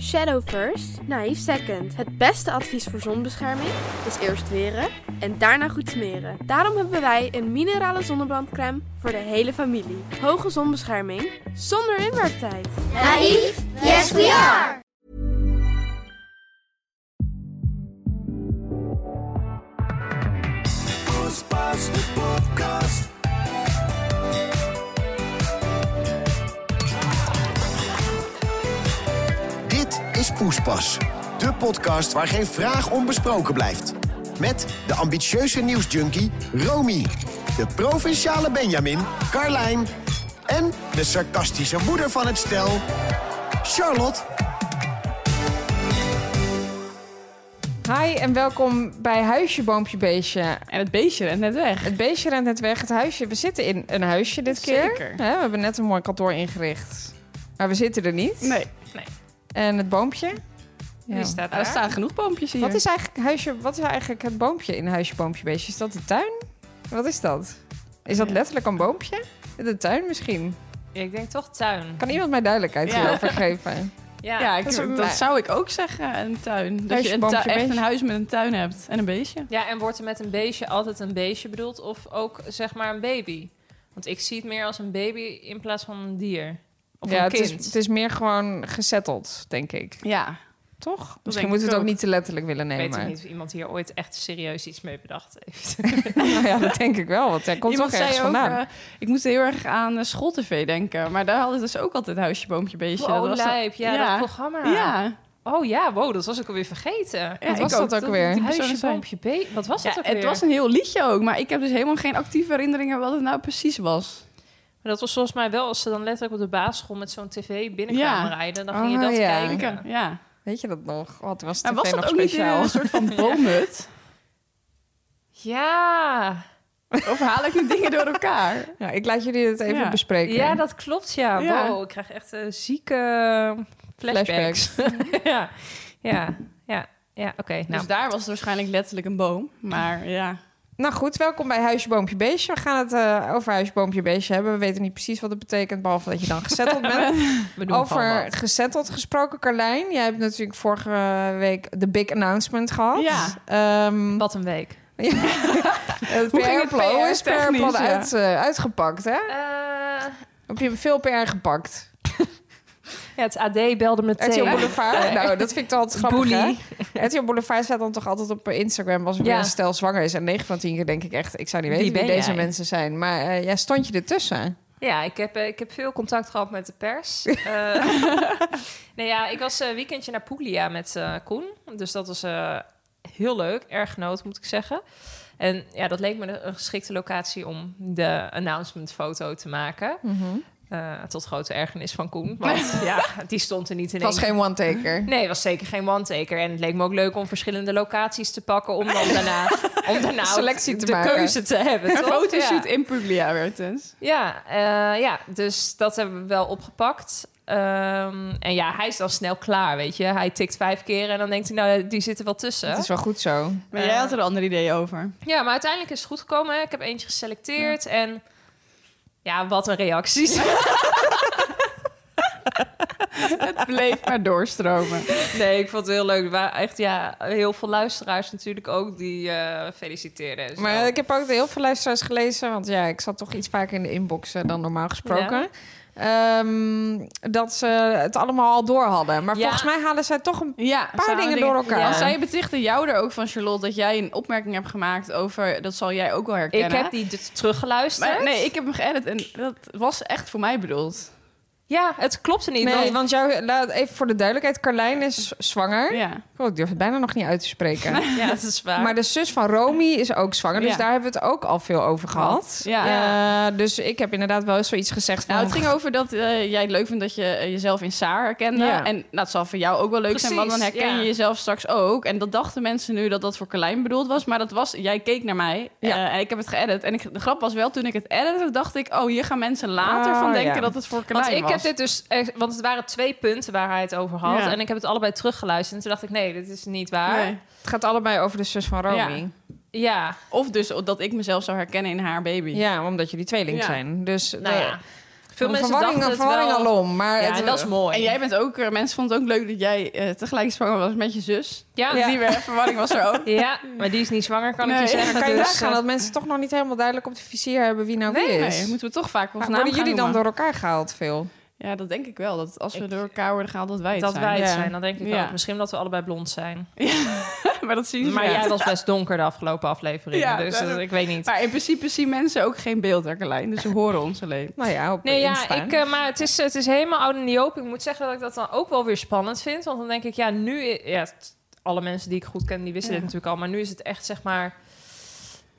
Shadow first, naïef second. Het beste advies voor zonbescherming is eerst weren en daarna goed smeren. Daarom hebben wij een minerale zonnebrandcrème voor de hele familie. Hoge zonbescherming zonder inwerktijd. Naïef? Yes, we are! Poespas, de podcast. Dit is Poespas, de podcast waar geen vraag onbesproken blijft. Met de ambitieuze nieuwsjunkie Romy, de provinciale Benjamin Carlijn en de sarcastische moeder van het stel Charlotte. Hi en welkom bij Huisje Boompje Beestje. En het beestje rent net weg. Het beestje rent net weg, het huisje. We zitten in een huisje dit keer. Zeker. Hè, we hebben net een mooi kantoor ingericht. Maar we zitten er niet. Nee, nee. En het boompje? Ja. Die staat Nou, Oh, er staan genoeg boompjes hier. Wat is, eigenlijk huisje, wat is nou eigenlijk het boompje in Huisje Boompje Beestje? Is dat de tuin? Wat is dat? Is dat Ja. letterlijk een boompje? De tuin misschien. Ik denk toch tuin. Kan iemand mij duidelijkheid Ja. hierover geven? Ja. ja, ik- dat is een- dat, zou ik ook zeggen, een tuin. Dat Huisje, je een boompje, tu- echt beestje. een huis met een tuin hebt en een beestje. Ja, en wordt er met een beestje altijd een beestje bedoeld of ook zeg maar een baby? Want ik zie het meer als een baby in plaats van een dier. Of ja, een het is, kind. het is meer gewoon gezetteld, denk ik. Ja. Toch? denk Misschien ik moeten we het ook ook. niet te letterlijk willen Ik nemen. weet ook niet of iemand hier ooit echt serieus iets mee bedacht heeft. Nou ja, dat denk ik wel, want hij komt Iemand toch zei ergens ook, vandaan. eh, ik moest heel erg aan eh, schooltv denken. Maar daar hadden ze dus ook altijd huisje, boompje, beestje. oh, dat was lijp. Ja, ja. dat programma. dan- ja. Oh ja, wow, dat was ik alweer vergeten. Ja, Wat ik was dat ook alweer? die persoon Huisje, zei. boompje, baby. Wat was Ja, dat ook het weer? was een heel liedje ook, maar ik heb dus helemaal geen actieve herinneringen wat het nou precies was. Maar dat was volgens mij wel als ze dan letterlijk op de basisschool met zo'n tv binnenkwamen Ja. rijden. Dan ging je Oh, dat ja. kijken. Ja. Weet je dat nog? Wat was Maar TV was dat nog ook niet eh, in speciaal? een soort van boomhut? Ja. Of haal ik nu dingen door elkaar? Ja, ik laat jullie het even Ja. bespreken. Ja, dat klopt, ja. Ja. Wow, ik krijg echt eh, zieke eh, flashbacks. ja, ja, ja, ja oké. nou. Dus daar was het waarschijnlijk letterlijk een boom. Maar ja. Nou goed, welkom bij Huisje Boompje Beestje. We gaan het eh, over Huisje Boompje Beestje hebben. We weten niet precies wat het betekent, behalve dat je dan gezetteld bent. we doen gewoon over wat. gezetteld gesproken, Carlijn. Jij hebt natuurlijk vorige week de big announcement gehad. Ja. Ehm, Wat een week. het Hoe ging het PR-plan is PR -technisch, PR-plan ja. uit, eh, uitgepakt, hè? Eh. Heb je veel PR gepakt? ja, het AD RTL belde meteen. Boulevard? Nou, dat vind ik toch altijd grappig, hè? Boelie. RTL Boulevard staat dan toch altijd op Instagram als er Ja. weer een stel zwanger is. En 9 van 10 keer denk ik echt, ik zou niet weten Wie wie, ben deze jij? mensen zijn. Maar eh, jij stond je ertussen. Ja, ik heb, eh, ik heb veel contact gehad met de pers. Eh, nee, ja, ik was een weekendje naar Puglia met eh, Koen. Dus dat was eh, heel leuk. Erg genoot, moet ik zeggen. En ja, dat leek me een geschikte locatie om de announcement foto te maken. Eh, tot grote ergernis van Koen. Want ja, die stond er niet in Het was één- geen one-taker. Nee, het was zeker geen one-taker. En het leek me ook leuk om verschillende locaties te pakken... om dan daarna, om daarna ook Selectie te de maken. keuze te hebben. Een toch? fotoshoot Ja. in Puglia werd het. Ja, eh, ja, dus dat hebben we wel opgepakt. Ehm, en ja, hij is dan snel klaar, weet je. Hij tikt vijf keer en dan denkt hij, nou, die zitten wel tussen. Dat is wel goed zo. Maar Eh. jij had er een ander idee over. Ja, maar uiteindelijk is het goed gekomen. hè. Ik heb eentje geselecteerd en... Ja, wat een reacties. Bleef maar doorstromen. Nee, ik vond het heel leuk. Er waren echt ja, heel veel luisteraars natuurlijk ook die eh feliciteerden. en zo. Maar ik heb ook heel veel luisteraars gelezen. Want ja, ik zat toch iets vaker in de inbox eh, dan normaal gesproken. Ehm, dat ze het allemaal al door hadden. Maar Ja. volgens mij halen zij toch een... Ja, paar samen dingen door elkaar. Als zij betichten jou er ook van, Charlotte, dat jij een opmerking hebt gemaakt over... Dat zal jij ook wel herkennen. ik heb die d- teruggeluisterd. Maar nee, ik heb hem geëdit en dat was echt voor mij bedoeld. Ja, het klopte niet. Nee, want- want jou, laat- even voor de duidelijkheid. Carlijn is zwanger. Ja. Oh, ik durf het bijna nog niet uit te spreken. Ja, dat is waar. Maar de zus van Romy is ook zwanger. Dus Ja. daar hebben we het ook al veel over gehad. Ja. Eh, dus ik heb inderdaad wel eens zoiets gezegd van... Nou, het ging over dat eh, jij het leuk vindt dat je eh, jezelf in Saar herkende. Ja. En nou, dat zal voor jou ook wel leuk zijn, want dan Precies, herken ja. je jezelf straks ook. En dat dachten mensen nu dat dat voor Carlijn bedoeld was. Maar dat was, jij keek naar mij Ja. eh, en ik heb het geëdit. En ik, de grap was wel, toen ik het editte, dacht ik... Oh, hier gaan mensen later Oh, van denken ja. dat het voor Want Carlijn ik was. heb dit dus, echt- want het waren twee punten waar hij het over had. Ja. En ik heb het allebei teruggeluisterd. En toen dacht ik, nee, dit is niet waar. Nee. Het gaat allebei over de zus van Romy. Ja, Of dus dat ik mezelf zou herkennen in haar baby. Ja, omdat jullie tweeling Ja. zijn. Dus nou nee. ja. Veel mensen verwarring, dachten het verwarring wel... alom. Maar Ja, het- en dat is mooi. En jij bent ook, eh, mensen vonden het ook leuk dat jij eh, tegelijk zwanger was met je zus. Ja. Want Die werd- verwarring was er ook. Ja, maar die is niet zwanger, kan Nee. ik je zeggen. dan kan je dus, nagaan eh, dat mensen toch nog niet helemaal duidelijk op de vizier hebben wie nou wie is. Nee, moeten we toch vaak Maar volgens worden naam jullie gaan dan noemen. door elkaar gehaald veel? Ja, dat denk ik wel. Dat als we Ik- door elkaar worden gehaald, dat wij het dat zijn. wij het Ja. zijn, dan denk ik Ja. ook. Misschien dat we allebei blond zijn. maar dat zien ze Maar niet. jij was best donker de afgelopen aflevering. Ja, dus daarom. eh, ik weet niet. Maar in principe zien mensen ook geen beeld, Carlijn. Dus ze horen ons alleen. Nou ja, op Nee, ja, Insta. ik, eh, maar het is, het is helemaal oud en hoop. Ik moet zeggen dat ik dat dan ook wel weer spannend vind. Want dan denk ik, ja, nu... i- Ja, t- alle mensen die ik goed ken, die wisten Ja. dit natuurlijk al. Maar nu is het echt, zeg maar,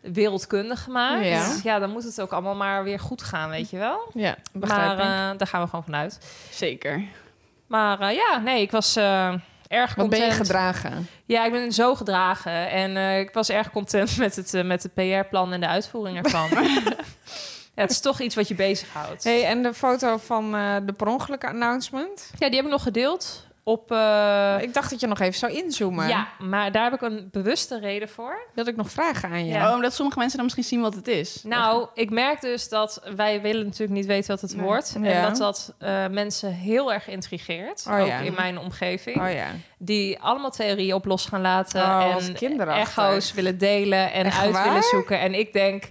wereldkundig gemaakt. Dus Ja. ja, dan moet het ook allemaal maar weer goed gaan, weet je wel. Ja, begrijp Maar ik. eh, daar gaan we gewoon vanuit. Zeker. Maar eh, ja, nee, ik was eh, erg Wat ben je content. gedragen? Ja, ik ben zo gedragen. En eh, ik was erg content met het, eh, met het PR-plan en de uitvoering ervan. ja, het is toch iets wat je bezighoudt. Hey, en de foto van eh, de per ongeluk announcement? Ja, die heb ik nog gedeeld op... eh, ik dacht dat je nog even zou inzoomen. Ja, maar daar heb ik een bewuste reden voor. Wilde ik nog vragen aan je? Ja. Oh, omdat sommige mensen dan misschien zien wat het is. Nou, ik merk dus dat wij willen natuurlijk niet weten wat het Nee. wordt. En Ja. dat dat eh, mensen heel erg intrigeert. Oh, ook ja. in mijn omgeving. Oh ja. Die allemaal theorieën op los gaan laten. Oh, wat en kinderachtig. echo's willen delen en Echt uit waar? willen zoeken. En ik denk...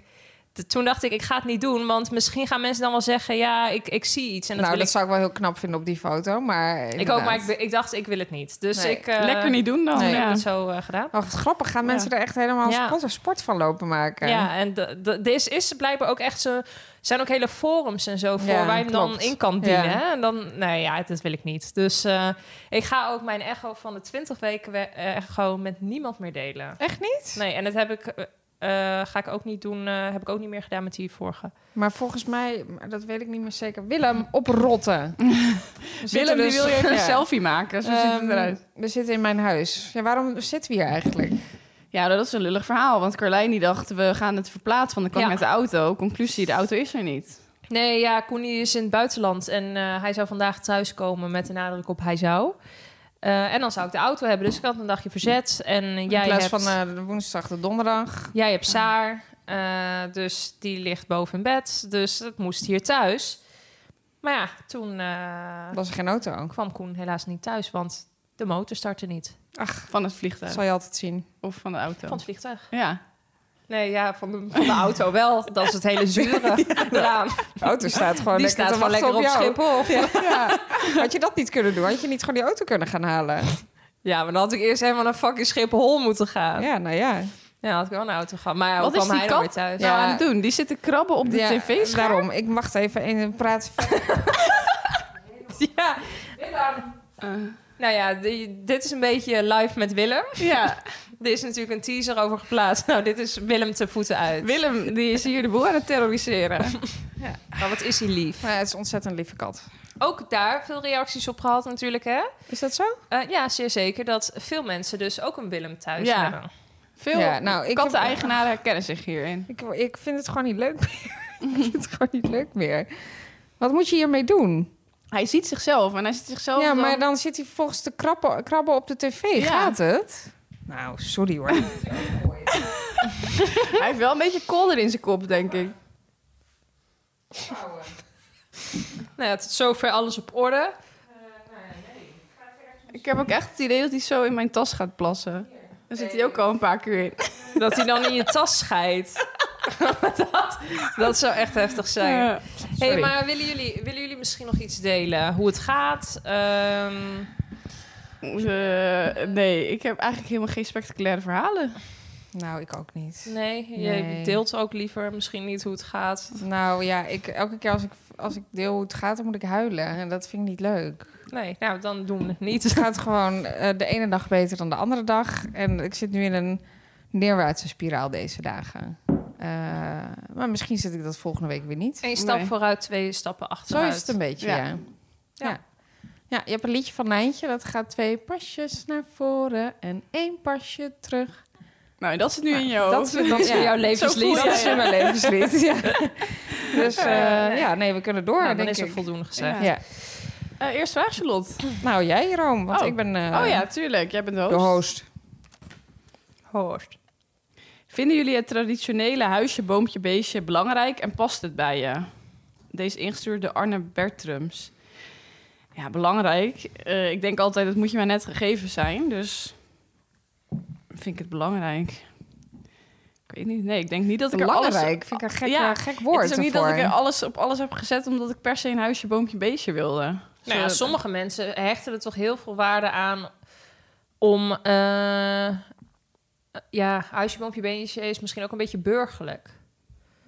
t- Toen dacht ik, ik ga het niet doen. Want misschien gaan mensen dan wel zeggen... ja, ik, ik zie iets. En dat nou, wil dat ik, zou ik wel heel knap vinden op die foto, maar ik ook. Maar ik, ik dacht, ik wil het niet. Dus Nee. ik... eh, Lekker niet doen dan. nee, Ik heb ja. het zo eh, gedaan. Oh, wat grappig. Gaan mensen er echt helemaal Ja. sport, sport van lopen maken? Ja, en de- de- deze is blijkbaar ook echt zo. zijn ook hele forums en zo voor Ja, waar je hem dan klopt. in kan dienen. Ja. hè? En dan, nee, ja, dat wil ik niet. Dus eh, ik ga ook mijn echo van de 20 weken we- eh, echo met niemand meer delen. Echt niet? Nee, en dat heb ik, eh, eh, ga ik ook niet doen, eh, heb ik ook niet meer gedaan met die vorige. Maar volgens mij, maar dat weet ik niet meer zeker. Willem, oprotten. We zitten Willem, die dus- wil je even een Ja. selfie maken. Zo ziet het Ehm, eruit. We zitten in mijn huis. Ja, waarom zitten we hier eigenlijk? Ja, dat is een lullig verhaal. Want Carlijn die dacht, we gaan het verplaatsen, want dan kan ik Ja. met de auto. Conclusie, de auto is er niet. Nee, ja, Koenie is in het buitenland en eh, hij zou vandaag thuiskomen met de nadruk op hij zou. Eh, en dan zou ik de auto hebben, dus ik had een dagje verzet. En jij in plaats hebt... van eh, de woensdag, de donderdag. Jij hebt Saar, eh, dus die ligt boven in bed. Dus dat moest hier thuis. Maar ja, toen eh, Was er geen auto. kwam Koen helaas niet thuis, want de motor startte niet. Van het Dat vliegtuig. zal je altijd zien. Of van de auto. Van het vliegtuig. Ja. Nee, ja, van de, van de auto wel. Dat is het hele zure eraan. De auto staat gewoon Die lekker staat te wachten gewoon lekker op, jou. Schiphol. Ja. Ja. Had je dat niet kunnen doen? Had je niet gewoon die auto kunnen gaan halen? maar dan had ik eerst helemaal naar fucking Schiphol moeten gaan. Ja, Ja, nou ja. dan had ik wel een auto gaan. Maar ja, hoe Wat is kwam die hij dan weer kat thuis? nou aan het doen? Die zitten krabben op de ja, eh, tv's. Daarom, ik wacht even en praat Ja. Nou ja, die- dit is een beetje live met Willem. Ja. Er is natuurlijk een teaser over geplaatst. Nou, dit is Willem te voeten uit. Willem, die is hier de boel aan het terroriseren. Maar wat is hij lief. Maar het is een ontzettend lieve kat. Ook daar veel reacties op gehad natuurlijk, hè? Is dat zo? Eh, ja, zeer zeker dat veel mensen dus ook een Willem thuis Ja. hebben. Veel Ja, nou, ik heb- katten-eigenaren herkennen zich hierin. Ik, ik vind het gewoon niet leuk meer. ik vind het gewoon niet leuk meer. Wat moet je hiermee doen? Hij ziet zichzelf en hij ziet zichzelf ja, Oh, dan- maar dan zit hij volgens de krabben, krabben op de tv. Gaat het? Nou, sorry hoor. Hij heeft wel een beetje kolder in zijn kop, denk ik. Nou ja, tot zover alles op orde. Ik heb ook echt het idee dat hij zo in mijn tas gaat plassen. Daar zit hij ook al een paar keer in. Dat hij dan in je tas scheidt. dat, dat zou echt heftig zijn. Ja. hey, maar willen jullie, willen jullie misschien nog iets delen? Hoe het gaat? Ehm, Eh, nee, ik heb eigenlijk helemaal geen spectaculaire verhalen. nou, ik ook niet. nee, je Nee. deelt ook liever misschien niet hoe het gaat. Nou ja, ik, elke keer als ik, als ik deel hoe het gaat, dan moet ik huilen. En dat vind ik niet leuk. Nee, nou, dan doen we het Het niet. gaat gewoon eh, de ene dag beter dan de andere dag. En ik zit nu in een neerwaartse spiraal deze dagen. Eh, maar misschien zit ik dat volgende week weer niet. Eén stap Nee. vooruit, twee stappen Zo achteruit. Nou, is het een beetje, Ja. ja. Ja. ja. je hebt een liedje van Nijntje. Dat gaat twee pasjes naar voren en één pasje terug. Nou, dat zit nu in jou. dat is- dat is Ja, jouw levenslied. voel Dat je is je. mijn levenslied, ja. Dus eh, ja, nee, we kunnen door, Nou, dan denk is er ik. voldoende gezegd. Ja. Ja. Eh, eerst vraag Charlotte. Nou, jij, Room, want Oh. ik ben eh, oh ja, tuurlijk. Jij bent de host. de host. Horst. Vinden jullie het traditionele huisje, boompje, beestje belangrijk en past het bij je? Deze is ingestuurd door Arne Bertrums. Ja, belangrijk. Eh, ik denk altijd, dat moet je maar net gegeven zijn. Dus vind ik het belangrijk. Ik weet niet. Nee, ik denk niet dat ik er alles... Belangrijk, vind ik een gek, Ja, eh, gek woord Het is ook niet ervoor. dat ik er alles op alles heb gezet... omdat ik per se een huisje, boompje, beestje wilde. Nou ja, Zo- sommige mensen hechten er toch heel veel waarde aan om... eh, ja, huisje, boompje, beentje is misschien ook een beetje burgerlijk.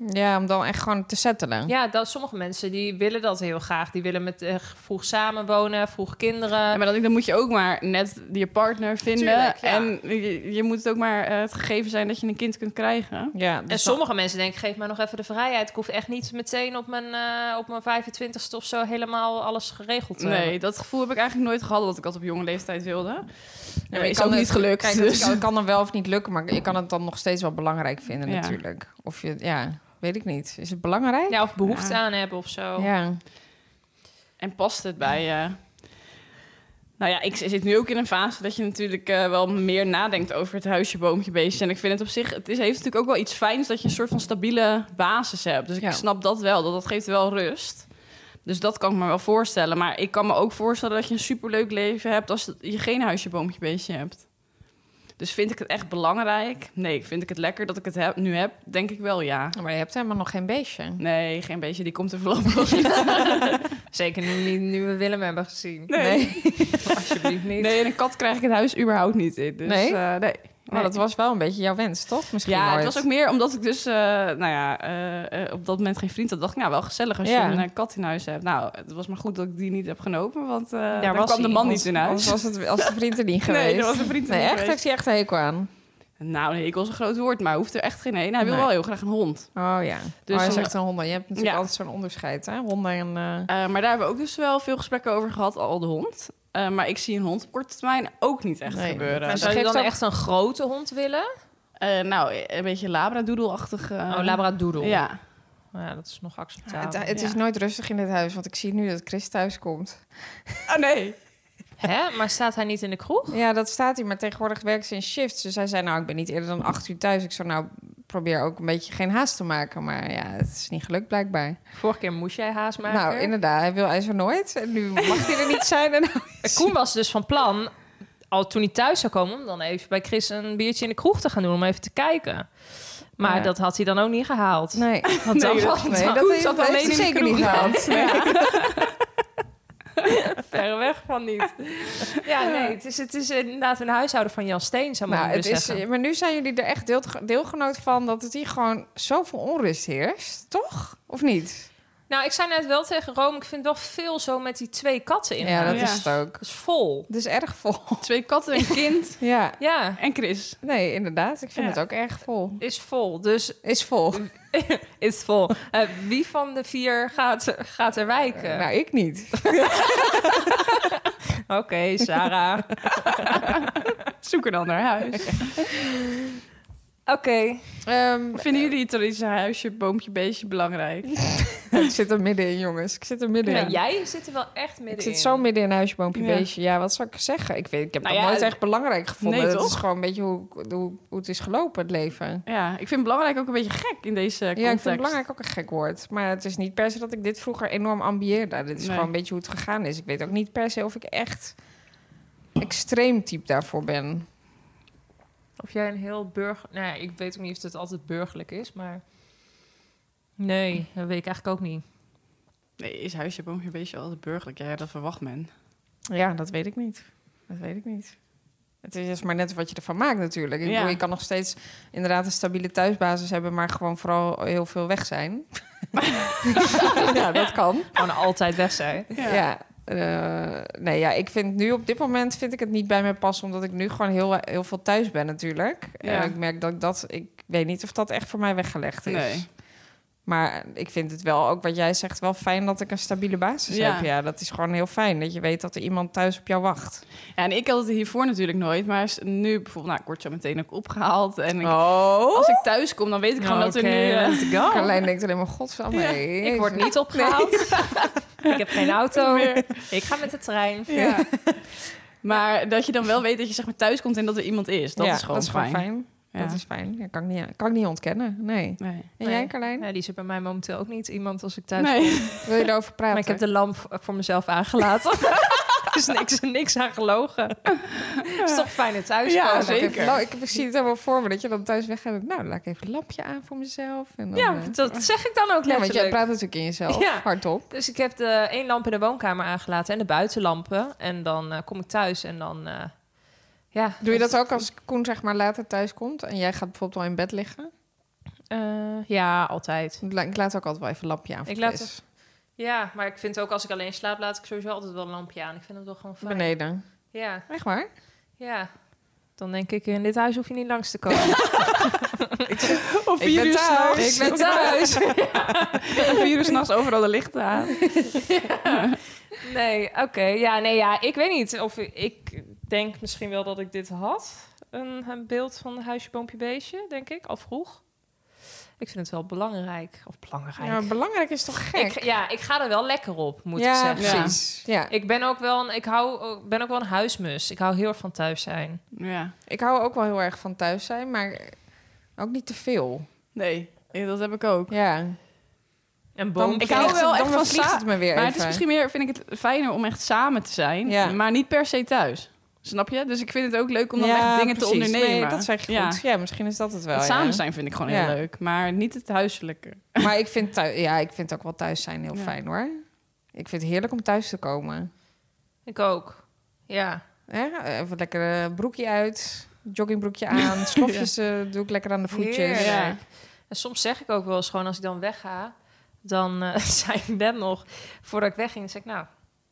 Ja, om dan echt gewoon te settelen. Ja, dat, sommige mensen die willen dat heel graag. Die willen met eh, vroeg samenwonen, vroeg kinderen. Ja, maar dan, dan moet je ook maar net je partner vinden. Tuurlijk, ja. En je, je moet het ook maar eh, het gegeven zijn dat je een kind kunt krijgen. Ja, dus en sommige mensen denken, geef mij nog even de vrijheid. Ik hoef echt niet meteen op mijn, eh, op mijn 25ste of zo helemaal alles geregeld te hebben. Nee, dat gevoel heb ik eigenlijk nooit gehad dat ik dat op jonge leeftijd wilde. Ja, maar je is kan ook het- niet gelukt. Kijk, dus. het kan, kan dan wel of niet lukken, maar je kan het dan nog steeds wel belangrijk vinden Ja. natuurlijk. Of je, ja, weet ik niet. Is het belangrijk? Ja, of behoefte Ja. aan hebben of zo. Ja. En past het bij je? Nou ja, ik zit nu ook in een fase dat je natuurlijk eh, wel meer nadenkt over het huisje, boompje, beestje. En ik vind het op zich, het is, heeft natuurlijk ook wel iets fijns dat je een soort van stabiele basis hebt. Dus ik Ja. snap dat wel, dat, dat geeft wel rust. Dus dat kan ik me wel voorstellen. Maar ik kan me ook voorstellen dat je een superleuk leven hebt als je geen huisje, boompje, beestje hebt. Dus vind ik het echt belangrijk? Nee, vind ik het lekker dat ik het heb, nu heb? Denk ik wel ja. Maar je hebt helemaal nog geen beestje. Nee, geen beestje, die komt er voorlopig nog niet. Zeker nu, niet- nu we Willem hebben gezien. Nee. Alsjeblieft niet. Nee, en een kat krijg ik het huis überhaupt niet in. Dus, Nee? eh, nee. Maar dat was wel een beetje jouw wens, toch? Misschien ja, het ooit. was ook meer omdat ik dus, eh, nou ja, eh, eh, op dat moment geen vriend had. dacht ik, nou, wel gezellig als Ja. je een eh, kat in huis hebt. Nou, het was maar goed dat ik die niet heb genomen, want eh Daar daar was kwam de hij. man Anders- niet in huis. anders was het als de vriend er niet Nee, geweest. er was een vriend er Nee, niet echt? geweest. Heeft hij echt een hekel aan? Nou, nee, ik was een groot woord, maar hoeft er echt geen een. Hij wil Nee. wel heel graag een hond. Oh ja. Dus Dus hij is dan- echt een honden. Je hebt natuurlijk Ja. altijd zo'n onderscheid, hè? Honden en... eh, Eh, maar daar hebben we ook dus wel veel gesprekken over gehad, al de hond. Eh, maar ik zie een hond op korte termijn ook niet echt Nee. gebeuren. Maar Dat- zou je geeft dan ook- echt een grote hond willen? eh, nou, een beetje labradoedelachtig. eh, oh, labradoodle. Ja. ja, dat is nog Ja, het acceptabel. het is ja. nooit rustig in dit huis, want ik zie nu dat Chris thuis komt. Oh nee. Hè? Maar staat hij niet in de kroeg? Ja, dat staat hier, maar tegenwoordig werkt ze in shifts. Dus hij zei, nou, ik ben niet eerder dan acht uur thuis. Ik zou nou probeer ook een beetje geen haast te maken. Maar ja, het is niet gelukt blijkbaar. Vorige keer moest jij haast maken. Nou, inderdaad, hij wil hij zo nooit. En nu mag hij er niet zijn. En nou- En Koen was dus van plan, al toen hij thuis zou komen, om dan even bij Chris een biertje in de kroeg te gaan doen om even te kijken. Maar Ja. dat had hij dan ook niet gehaald. Nee, Want dan nee, dat- was nee, dan dat Koen heeft- zat dat alleen heeft in hij zeker de kroeg. niet gehaald. Verre weg van niet. Ja, nee, het is, het is inderdaad een huishouden van Jan Steen, zou maar Nou, het is, zeggen. maar nu zijn jullie er echt deel, deelgenoot van dat het hier gewoon zoveel onrust heerst, toch? Of niet? Nou, ik zei net wel tegen Rome, ik vind wel veel zo met die twee katten in Ja, dat Ja. is het ook. Dat is vol. Het is erg vol. Twee katten, een kind Ja, Ja, en Chris. nee, inderdaad. Ik vind Ja. het ook erg vol. is vol. Dus Is vol. is vol. Eh, wie van de vier gaat, gaat er wijken? Nou, ik niet. Oké, Sarah. Zoek een ander huis. Oké. Ehm, Vinden jullie het iets huisje, boompje, beestje belangrijk? ik zit er middenin, jongens. Ik zit er middenin. Maar jij zit er wel echt middenin. Ik zit zo midden in huisje, boompje, Ja. beestje. Ja, wat zou ik zeggen? Ik, weet, ik heb Nou dat ja, nooit echt belangrijk gevonden. nee, dat toch? is gewoon een beetje hoe, hoe, hoe het is gelopen, het leven. Ja, ik vind belangrijk ook een beetje gek in deze context. Ja, ik vind belangrijk ook een gek woord. Maar het is niet per se dat ik dit vroeger enorm ambieerde. Dit is Nee. gewoon een beetje hoe het gegaan is. Ik weet ook niet per se of ik echt extreem type daarvoor ben. Of jij een heel burger... Nou ja, ik weet ook niet of het altijd burgerlijk is, maar... Nee, dat weet ik eigenlijk ook niet. Nee, is huisje, boompje, beestje altijd burgerlijk? Ja, dat verwacht men. Ja, dat weet ik niet. Dat weet ik niet. Het is dus maar net wat je ervan maakt natuurlijk. Ik Ja. bedoel, je kan nog steeds inderdaad een stabiele thuisbasis hebben... maar gewoon vooral heel veel weg zijn. ja, dat kan. Gewoon altijd weg zijn. Ja. eh, nee, ja, ik vind nu op dit moment vind ik het niet bij mij passen, omdat ik nu gewoon heel, heel veel thuis ben natuurlijk. Ja. En ik merk dat ik dat, ik weet niet of dat echt voor mij weggelegd is. Nee. Maar ik vind het wel, ook wat jij zegt, wel fijn dat ik een stabiele basis Ja. heb. Ja, dat is gewoon heel fijn, dat je weet dat er iemand thuis op jou wacht. Ja, en ik had het hiervoor natuurlijk nooit, maar s- nu bijvoorbeeld, nou, ik word zo meteen ook opgehaald. En ik- Oh! als ik thuis kom, dan weet ik gewoon dat er nu... eh, Carlijn denkt alleen maar, godverdomme. Ik word niet opgehaald. ik heb geen auto. Ik ga met de trein. ja. maar dat je dan wel weet dat je zeg maar thuis komt en dat er iemand is. Dat Ja, is gewoon dat is gewoon fijn. fijn. Ja. Dat is fijn. Ja, kan, ik niet, kan ik niet ontkennen. Nee. Nee. En Nee. jij, Carlijn? Nee, die zit bij mij momenteel ook niet. Iemand als ik thuis kom. nee. Wil je erover praten? Maar ik heb de lamp v- voor mezelf aangelaten. dus niks, niks aan gelogen. Het is toch fijn het thuis Ja, komen. zeker. Nou, Ik, heb- ik zie het helemaal voor me dat je dan thuis weggaat. Nou, laat ik even een lampje aan voor mezelf. En dan, Ja, eh, dat zeg ik dan ook ja, want letterlijk. jij praat natuurlijk in jezelf Ja. hardop. Dus ik heb de één lamp in de woonkamer aangelaten en de buitenlampen. En dan eh, kom ik thuis en dan... eh, ja, Doe je dat ook als Koen zeg maar later thuis komt en jij gaat bijvoorbeeld al in bed liggen? Eh, ja, altijd. Ik la- ik laat ook altijd wel even een lampje aan. voor Ik laat Chris. Ja, maar ik vind ook als ik alleen slaap, laat ik sowieso altijd wel een lampje aan. Ik vind dat wel gewoon fijn. beneden. Ja, Echt waar? ja. Dan denk ik, in dit huis hoef je niet langs te komen. Of vier uur s'nachts. ik ben thuis. Vier uur s'nachts overal de lichten aan. Nee, oké. Ja, nee, ja, ik weet niet. Of ik denk misschien wel dat ik dit had. Een, een beeld van huisje, boompje, beestje, denk ik. Al vroeg. Ik vind het wel belangrijk. Of belangrijk. Ja, belangrijk is toch gek? ik, ja, ik ga er wel lekker op, moet ja, ik zeggen. precies. precies. Ja. Ik ben ook wel een, ik hou, ik ben ook wel een huismus. Ik hou heel erg van thuis zijn. Ja. Ik hou ook wel heel erg van thuis zijn, maar ook niet te veel. Nee, eh, dat heb ik ook. Ja. En Dan boom. ik vliegt hou het- wel echt dan van vliegt sla- het me weer Maar even. het is misschien meer, vind ik het fijner om echt samen te zijn, Ja. maar niet per se thuis. Snap je? Dus ik vind het ook leuk om dan Ja, echt dingen te precies. ondernemen. Nee, dat zeg je Ja. goed. Ja, misschien is dat het wel. Het ja. samen zijn vind ik gewoon Ja. heel leuk, maar niet het huiselijke. Maar ik vind, thuis, ja, ik vind ook wel thuis zijn heel Ja. fijn hoor. Ik vind het heerlijk om thuis te komen. Ik ook. Ja. Ja, even lekker eh, broekje uit, joggingbroekje aan, slofjes eh, doe ik lekker aan de voetjes. Heerlijk. Ja. En soms zeg ik ook wel eens gewoon als ik dan wegga, dan eh zei ik net nog, voordat ik wegging, zei ik nou,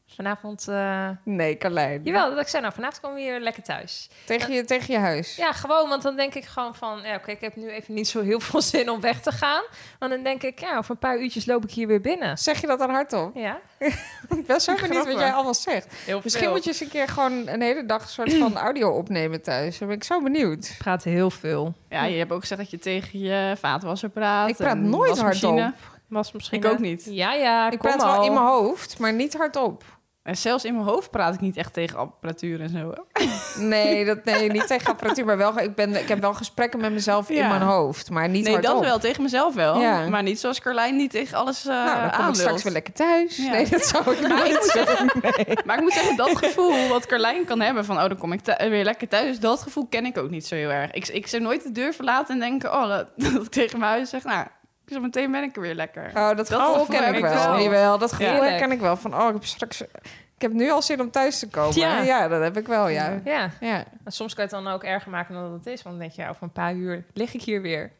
vanavond... eh, Nee, Carlijn. Jawel, dat ik zei, nou, vanavond komen we hier lekker thuis. Tegen je, tegen je huis. Ja, gewoon, want dan denk ik gewoon van... Ja, oké, ik heb nu even niet zo heel veel zin om weg te gaan. Want dan denk ik, ja, over een paar uurtjes loop ik hier weer binnen. Zeg je dat dan hardop? Ja, Ik ben zo benieuwd wat Grappig. jij allemaal zegt. heel Misschien moet je eens een keer gewoon een hele dag een soort van audio opnemen thuis. Daar ben ik zo benieuwd. praat heel veel. Ja, je hebt ook gezegd dat je tegen je vaatwasser praat. Ik praat en nooit wasmachine. hardop. Was misschien... Ik ook niet. Ja, ja, Ik kom praat wel al. in mijn hoofd, maar niet hardop. En zelfs in mijn hoofd praat ik niet echt tegen apparatuur en zo. Nee, dat, nee niet tegen apparatuur, maar wel, ge- ik, ben, ik heb wel gesprekken met mezelf in Ja. mijn hoofd, maar niet nee, hardop. dat wel, tegen mezelf wel. Ja. Maar niet zoals Carlijn, niet tegen alles eh Nou, dan kom ik aanlult. straks weer lekker thuis. Ja. Nee, dat zou ik niet doen. Maar ik moet zeggen, dat gevoel wat Carlijn kan hebben van... oh, dan kom ik thu- weer lekker thuis, dat gevoel ken ik ook niet zo heel erg. Ik, ik zou nooit de deur verlaten en denken... oh, dat, dat ik tegen mijn huis zeg, nou, zo meteen ben ik er weer lekker. Oh, dat, gevoel gevoel ken heb ik ik wel. wel. Jawel, dat gevoel Heerlijk. ken ik wel. Van, oh, ik heb straks... Ik heb nu al zin om thuis te komen. Ja, Ja. dat heb ik wel, ja. Ja, Ja, en soms kan je het dan ook erger maken dan dat het is. Want dan denk je, ja, over een paar uur lig ik hier weer.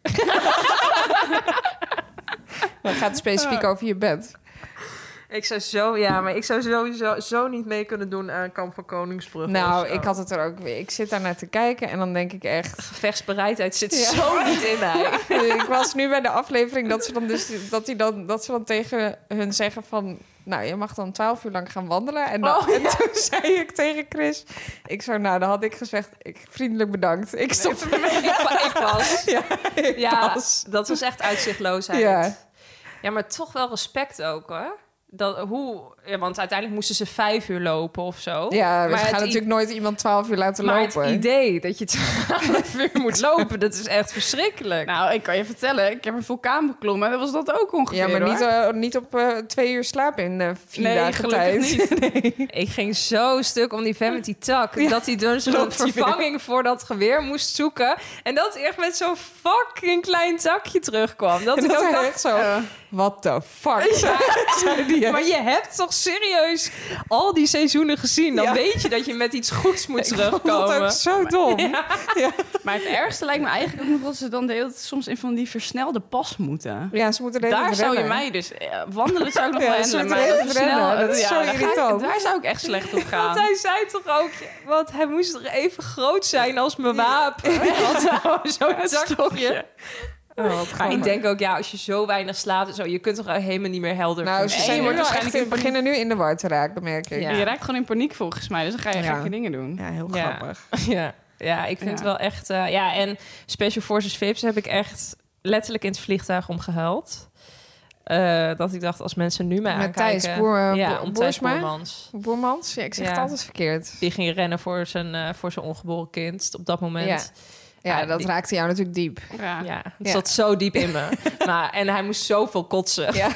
dan gaat het specifiek over je bed. Ah. Ik zou zo, ja, maar ik zou sowieso zo niet mee kunnen doen aan Kamp van Koningsbrug. Nou, ik had het er ook weer. Ik zit daar naar te kijken en dan denk ik echt. Gevechtsbereidheid zit Ja. zo niet in mij. ik was nu bij de aflevering dat ze dan dus dat die dan dat ze dan tegen hun zeggen van, nou, je mag dan twaalf uur lang gaan wandelen. En, Oh, dan, en toen zei ik tegen Chris, ik zo, nou, dan had ik gezegd, ik vriendelijk bedankt. Ik stop ik, pa- ik pas. Ja, ik Ja, pas. dat was echt uitzichtloosheid. Ja. Ja. maar toch wel respect ook hoor. Dat, hoe, ja, want uiteindelijk moesten ze vijf uur lopen of zo. Ja, we maar gaan het i- natuurlijk nooit iemand twaalf uur laten maar lopen. het idee dat je twaalf uur moet lopen, dat is echt verschrikkelijk. Nou, ik kan je vertellen, ik heb een vulkaan beklommen. Dat was dat ook ongeveer, ja, maar niet, hoor. eh, niet op eh, twee uur slaap in eh, vier Nee, dagen gelukkig tijd. niet. ik ging zo stuk om die vent met die tak. Dat hij dus een klopt, die vervanging voor dat geweer moest zoeken. En dat hij echt met zo'n fucking klein takje terugkwam. Dat, En ik dat ook hij dacht, echt zo, what the fuck, zei die Maar echt. je hebt toch serieus al die seizoenen gezien? Dan Ja. weet je dat je met iets goeds moet Dat is terugkomen. ook zo dom. Maar het ergste lijkt me eigenlijk ook nog dat ze dan de hele tijd soms in van die versnelde pas moeten. Ja, ze moeten de hele Daar tijd zou je rennen. mij dus... eh, wandelen zou ik nog Ja, wel ze handelen, moeten maar even rennen. Dat is zo daar ga ik- irritant. Daar zou ik echt slecht op gaan. Want hij zei toch ook, want hij moest er even groot zijn als mijn wapen. Want Zo'n zakje. Oh, wat Maar grappig. ik denk ook, ja, als je zo weinig slaapt, en zo, je kunt toch helemaal niet meer helder. Nou, ze Nee, zijn je nu wordt wel echt, waarschijnlijk in- beginnen nu in de war te raken, merk ik. Ja. Ja, Je raakt gewoon in paniek volgens mij, dus dan ga je Ja. gekke dingen doen. heel Ja. grappig. Ja, ja ik vind Ja. het wel echt... eh, ja, en Special Forces VIPs heb ik echt letterlijk in het vliegtuig om gehuild. Eh, dat ik dacht, als mensen nu mij Met aankijken... Thijs Boer- ja, Bo- om Thijs Boersma? Boermans. Boermans, ja, ik zeg Ja. het altijd vergeboren verkeerd. Die ging rennen voor zijn, eh, voor zijn ongeboren kind op dat moment. Ja. Ja, Ja, dat die- raakte jou natuurlijk diep. Ja. Ja, het Ja. zat zo diep in me. maar, en hij moest zoveel kotsen. Ja.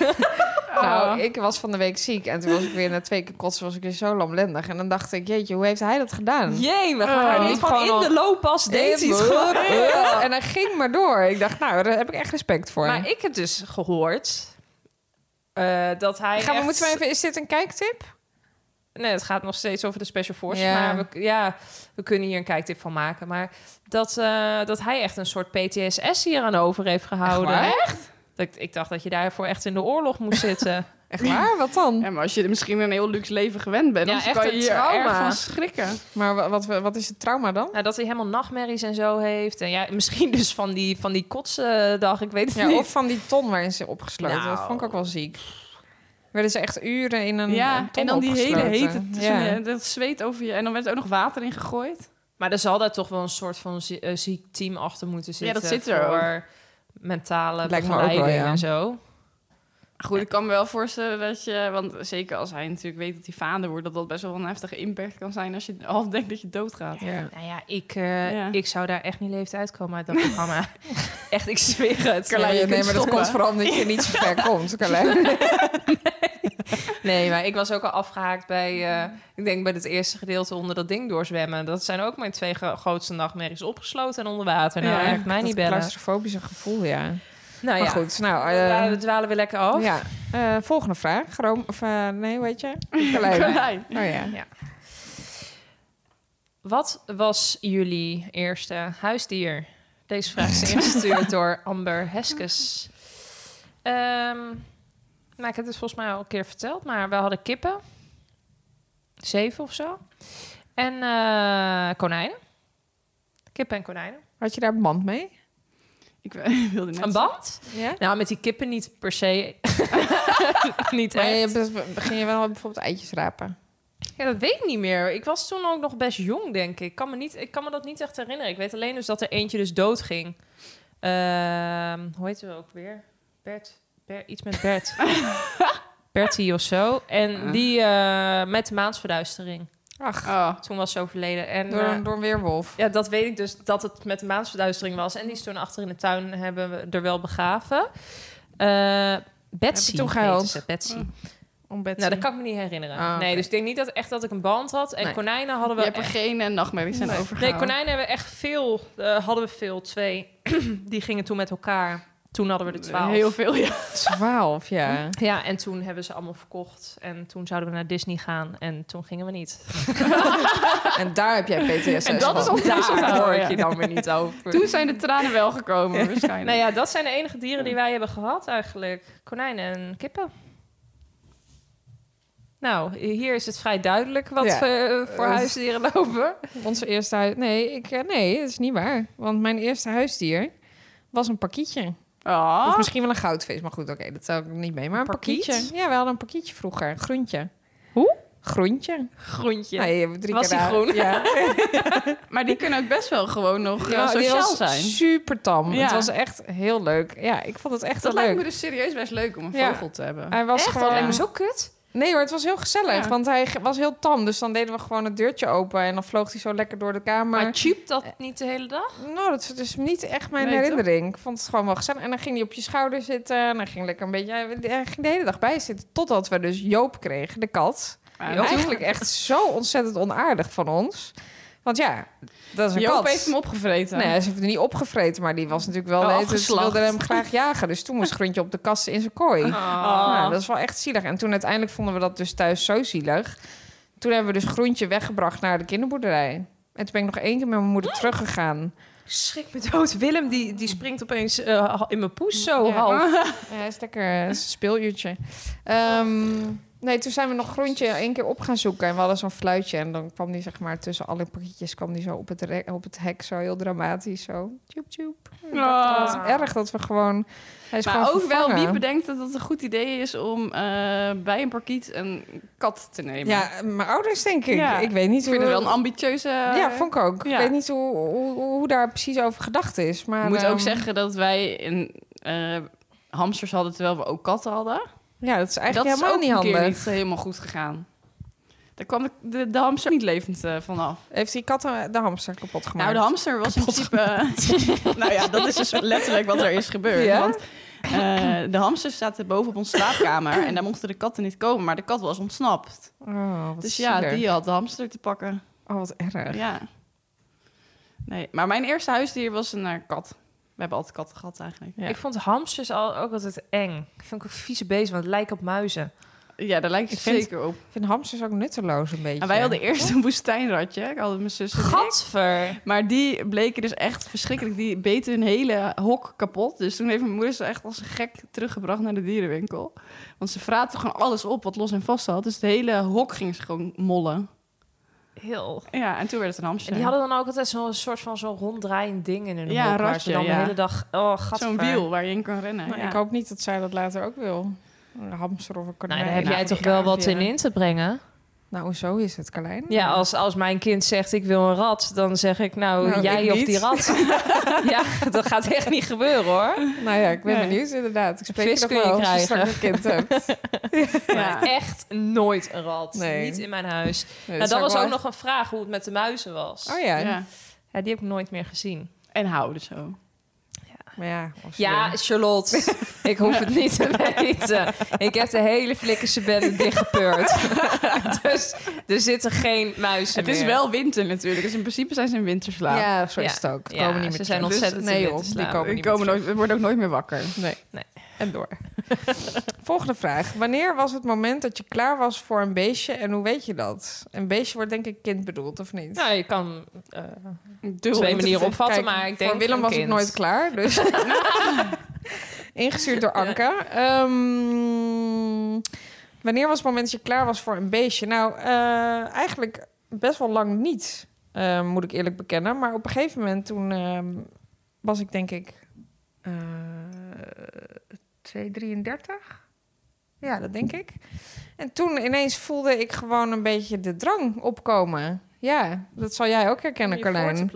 Oh. Nou, ik was van de week ziek en toen was ik weer na twee keer kotsen, was ik weer zo lamlendig. En dan dacht ik, jeetje, hoe heeft hij dat gedaan? Jee, we gaan Oh. hij deed gewoon in Gewoon de looppas deed hij het gewoon. Ja. En hij ging maar door. Ik dacht, nou, daar heb ik echt respect voor. Maar ik heb dus gehoord eh, dat hij. Gaan we, echt- moeten we even, is dit een kijktip? Nee, het gaat nog steeds over de special forces. Ja. Maar we, ja, we kunnen hier een kijktip van maken. Maar dat, eh, dat hij echt een soort PTSS hier aan over heeft gehouden. Echt Dat ik, ik dacht dat je daarvoor echt in de oorlog moest zitten. Echt waar? Wat dan? Ja, maar als je misschien een heel luxe leven gewend bent, Ja, dan echt kan je een hier trauma. erg van schrikken. Maar wa- wat, wat is het trauma dan? nou, dat hij helemaal nachtmerries en zo heeft. En ja, misschien dus van die, van die kotsendag. Ik weet het Ja, niet. of van die ton waarin ze opgesloten. Nou. Dat vond ik ook wel ziek. Werden ze echt uren in een, ja, een ton en dan die hele opgesloten. hete, tussen- Ja. eh, dat zweet over je. En dan werd er ook nog water in gegooid. Maar er zal daar toch wel een soort van zie- eh, ziek team achter moeten Ja, zitten. dat zit er Voor mentale Lijkt me ook wel, begeleiding ja. en zo. Goed, ik kan me wel voorstellen dat je, want zeker als hij natuurlijk weet dat hij vader wordt, dat dat best wel een heftige impact kan zijn als je al denkt dat je doodgaat. Ja. Nou ja, ik, eh, Ja. ik zou daar echt niet levend uitkomen uit dat programma. echt, ik zweer het. Carlijn, nee, je nee, maar kunt dat stoppen. komt vooral omdat je niet zo ver komt, Carlijn. nee, maar ik was ook al afgehaakt bij, eh, ik denk bij het eerste gedeelte onder dat ding doorzwemmen. Dat zijn ook mijn twee gro- grootste nachtmerries opgesloten en onder water. Nou, Ja, echt mij niet Dat bellen. claustrofobische gevoel, ja. Nou ja, maar goed, nou... we eh, dwalen- we dwalen weer lekker af. ja. Eh, volgende vraag. Rome, of, eh, nee, weet je? Carlijn. Carlijn. Oh ja. Wat was jullie eerste huisdier? Deze vraag is ingestuurd door Amber Heskes. Ehm, nou, ik heb het volgens mij al een keer verteld, maar we hadden kippen. Zeven of zo. En eh, konijnen. Kippen en konijnen. Had je daar band mee? Ik we- wilde net Een band? Ja. Nou, met die kippen niet per se. niet Maar echt. je, hebt- ging je wel bijvoorbeeld eitjes rapen? Ja, dat weet ik niet meer. Ik was toen ook nog best jong, denk ik. Ik kan me, niet, ik kan me dat niet echt herinneren. Ik weet alleen dus dat er eentje dus dood ging. hoe heet ze ook weer? Bert. Ber- iets met Bert. Bertie of zo. Ah. En die eh, met de maansverduistering. Ach, nou. Oh, Toen was ze overleden. En, door, eh, een, door een weerwolf. ja, dat weet ik dus dat het met de maansverduistering was. En die is toen achter in de tuin hebben we er wel begraven. Eh Betsy. je toen heette gehuild? ze, Betsy. Om bed te- Nou, dat kan ik me niet herinneren. Ah, oké. Nee, dus ik denk niet dat echt dat ik een band had. En Nee. konijnen hadden je we hebt er geen eh, nachtmerries aan Nee, overgehouden. konijnen hebben we echt veel. eh, hadden we veel, twee. die gingen toen met elkaar. Toen hadden we er twaalf. Eh, Heel veel, ja. 12, ja. Ja, en toen hebben we ze allemaal verkocht. En toen zouden we naar Disney gaan. En toen gingen we niet. Hm? En daar heb jij PTSS En dat is van. ook- Daar hoor ik Ja. je dan weer niet over. Toen zijn de tranen wel gekomen, waarschijnlijk. Nou ja, dat zijn de enige dieren die wij hebben gehad eigenlijk. Konijnen en kippen. Nou, hier is het vrij duidelijk wat Ja. we eh, voor Eh, huisdieren lopen. Onze eerste huis... Nee, ik, eh, nee, dat is niet waar. Want mijn eerste huisdier was een Ah. pakietje. Oh. Of misschien wel een goudvis. Maar goed, oké, dat zou ik niet mee. Maar een Parkiet? pakietje. Ja, we hadden een pakietje vroeger. Een groentje. Hoe? Groentje. Groentje. Nee, je hebt drie Was keer die daar- groen? Ja. Maar die kunnen ook best wel gewoon nog eh, Ja, die sociaal was zijn. super tam. Ja. Het was echt heel leuk. Ja, ik vond het echt wel Dat lijkt leuk. me dus serieus best leuk om een Ja. Eh, vogel te hebben. Hij was Echt? Dat gewoon... lijkt me zo kut. Nee hoor, het was heel gezellig. Ja. Want hij ge- was heel tam. Dus dan deden we gewoon het deurtje open. En dan vloog hij zo lekker door de kamer. Maar, maar cheap dat niet de hele dag? Nou, dat is dus niet echt mijn Nee, toch? herinnering. Ik vond het gewoon wel gezellig. En dan ging hij op je schouder zitten. En dan ging lekker een beetje... Hij hij ging de hele dag bij zitten. Totdat we dus Joop kregen, de kat. Ah, Joop. Joop- Eigenlijk echt zo ontzettend onaardig van ons. Want ja, dat is een Joop kat. heeft hem opgevreten. Nee, ze heeft hem niet opgevreten, maar die was natuurlijk wel... Oh, de hele tijd- ze afgeslacht. wilde hem graag jagen. Dus toen moest Gruntje op de kast in zijn kooi. Oh. Nou, dat is wel echt zielig. En toen uiteindelijk vonden we dat dus thuis zo zielig. Toen hebben we dus Groentje weggebracht naar de kinderboerderij. En toen ben ik nog één keer met mijn moeder teruggegaan. Schrik me dood. Willem die, die springt opeens eh, in mijn poes zo Ja. half. Ja, is lekker eh, is een speeluurtje. Ehm, nee, toen zijn we nog Groentje één keer op gaan zoeken. En we hadden zo'n fluitje. En dan kwam die zeg maar tussen alle pakketjes... kwam die zo op het, rek- op het hek, zo heel dramatisch. Zo, tjoep tjoep. Ah. Dat is erg dat we gewoon... Hij is Maar gewoon ook wel, vervangen. wie bedenkt dat het een goed idee is om eh, bij een parkiet een kat te nemen? Ja, mijn ouders denk ik. Ja. Ik weet niet ik vind het hoe- wel een ambitieuze... Ja, vond ik ook. Eh, ja. Ik weet niet hoe, hoe, hoe daar precies over gedacht is. Maar, Ik moet ehm, ook zeggen dat wij een, eh, hamsters hadden terwijl we ook katten hadden. Ja, dat is dat eigenlijk is ook helemaal niet een keer handig. niet helemaal goed gegaan. Daar kwam de, de, de hamster niet levend eh, vanaf. Heeft die kat eh, de hamster kapot gemaakt? Nou, de hamster was in principe... nou ja, dat is dus letterlijk wat er is gebeurd. Ja? Want eh, de hamsters zaten boven op onze slaapkamer... en daar mochten de katten niet komen, maar de kat was ontsnapt. Oh, wat Dus ja, zielig. die had de hamster te pakken. Oh, wat erg. Ja. Nee, maar mijn eerste huisdier was een eh, kat. We hebben altijd katten gehad eigenlijk. Ja. Ik vond hamsters al, ook altijd eng. Ik vind ik ook vieze beesten, want het lijkt op muizen. Ja, daar lijkt het Ik vind- zeker op. Ik vind hamsters ook nutteloos een beetje. En Nou, wij hadden eerst een woestijnratje. Ik had mijn zus en ik. Gadver. Maar die bleken dus echt verschrikkelijk. Die beten hun hele hok kapot. Dus toen heeft mijn moeder ze echt als een gek teruggebracht naar de dierenwinkel. Want ze vraten gewoon alles op wat los en vast had. Dus het hele hok ging ze gewoon mollen. Heel. Ja, en toen werd het een hamster. En die hadden dan ook altijd zo'n soort van zo'n ronddraaiend ding in hun Ja, mond, een waar ratje, ze dan ja. de hele dag... Oh, gadver. Zo'n wiel waar je in kan rennen. Nou, ja. Ik hoop niet dat zij dat later ook wil. Een hamster of een konijn. Nou, daar heb Nou, jij die toch wel wat azië. in in te brengen? Nou, zo is het, Carlijn. Ja, oh. als, als mijn kind zegt ik wil een rat, dan zeg ik nou, Nou, jij ik of niet. die rat. ja, dat gaat echt niet gebeuren hoor. Nou ja, ik ben Nee. benieuwd inderdaad. Ik spreek Vis je nog kun je wel als je krijgen. straks een kind hebt. Ja. Echt nooit een rat. Nee. Niet in mijn huis. Nee, nou, dat zou ik was wel ook nog een vraag hoe het met de muizen was. Oh ja. Ja. Ja, die heb ik nooit meer gezien. En houden zo. Maar ja, of ze- Ja, Charlotte, ik hoef het niet te weten. Ik heb de hele flikkerse bende dichtgepeurd. dus er zitten geen muizen Het is meer. wel winter natuurlijk. Dus in principe zijn ze in winterslaap. Ja, zo is het Ja. ook. Die Ja, komen niet ze meer zijn terug. ontzettend nee, in joh, witte die slaap. komen Ik niet komen meer nooit, we worden ook nooit meer wakker. terug. Nee. Nee. En door. Volgende vraag. Wanneer was het moment dat je klaar was voor een beestje en hoe weet je dat? Een beestje wordt denk ik kind bedoeld, of niet? Nou, je kan eh, Dubbel. twee manieren Kijk, opvatten, maar ik denk Voor Willem een was ik kind. nooit klaar, dus... Ingestuurd door Anka. Ehm, wanneer was het moment dat je klaar was voor een beestje? Nou, eh, eigenlijk best wel lang niet, eh, moet ik eerlijk bekennen. Maar op een gegeven moment toen ehm, was ik denk ik... eh 2,33? Ja, dat denk ik. En toen ineens voelde ik gewoon een beetje de drang opkomen. Ja, dat zal jij ook herkennen, Carlijn.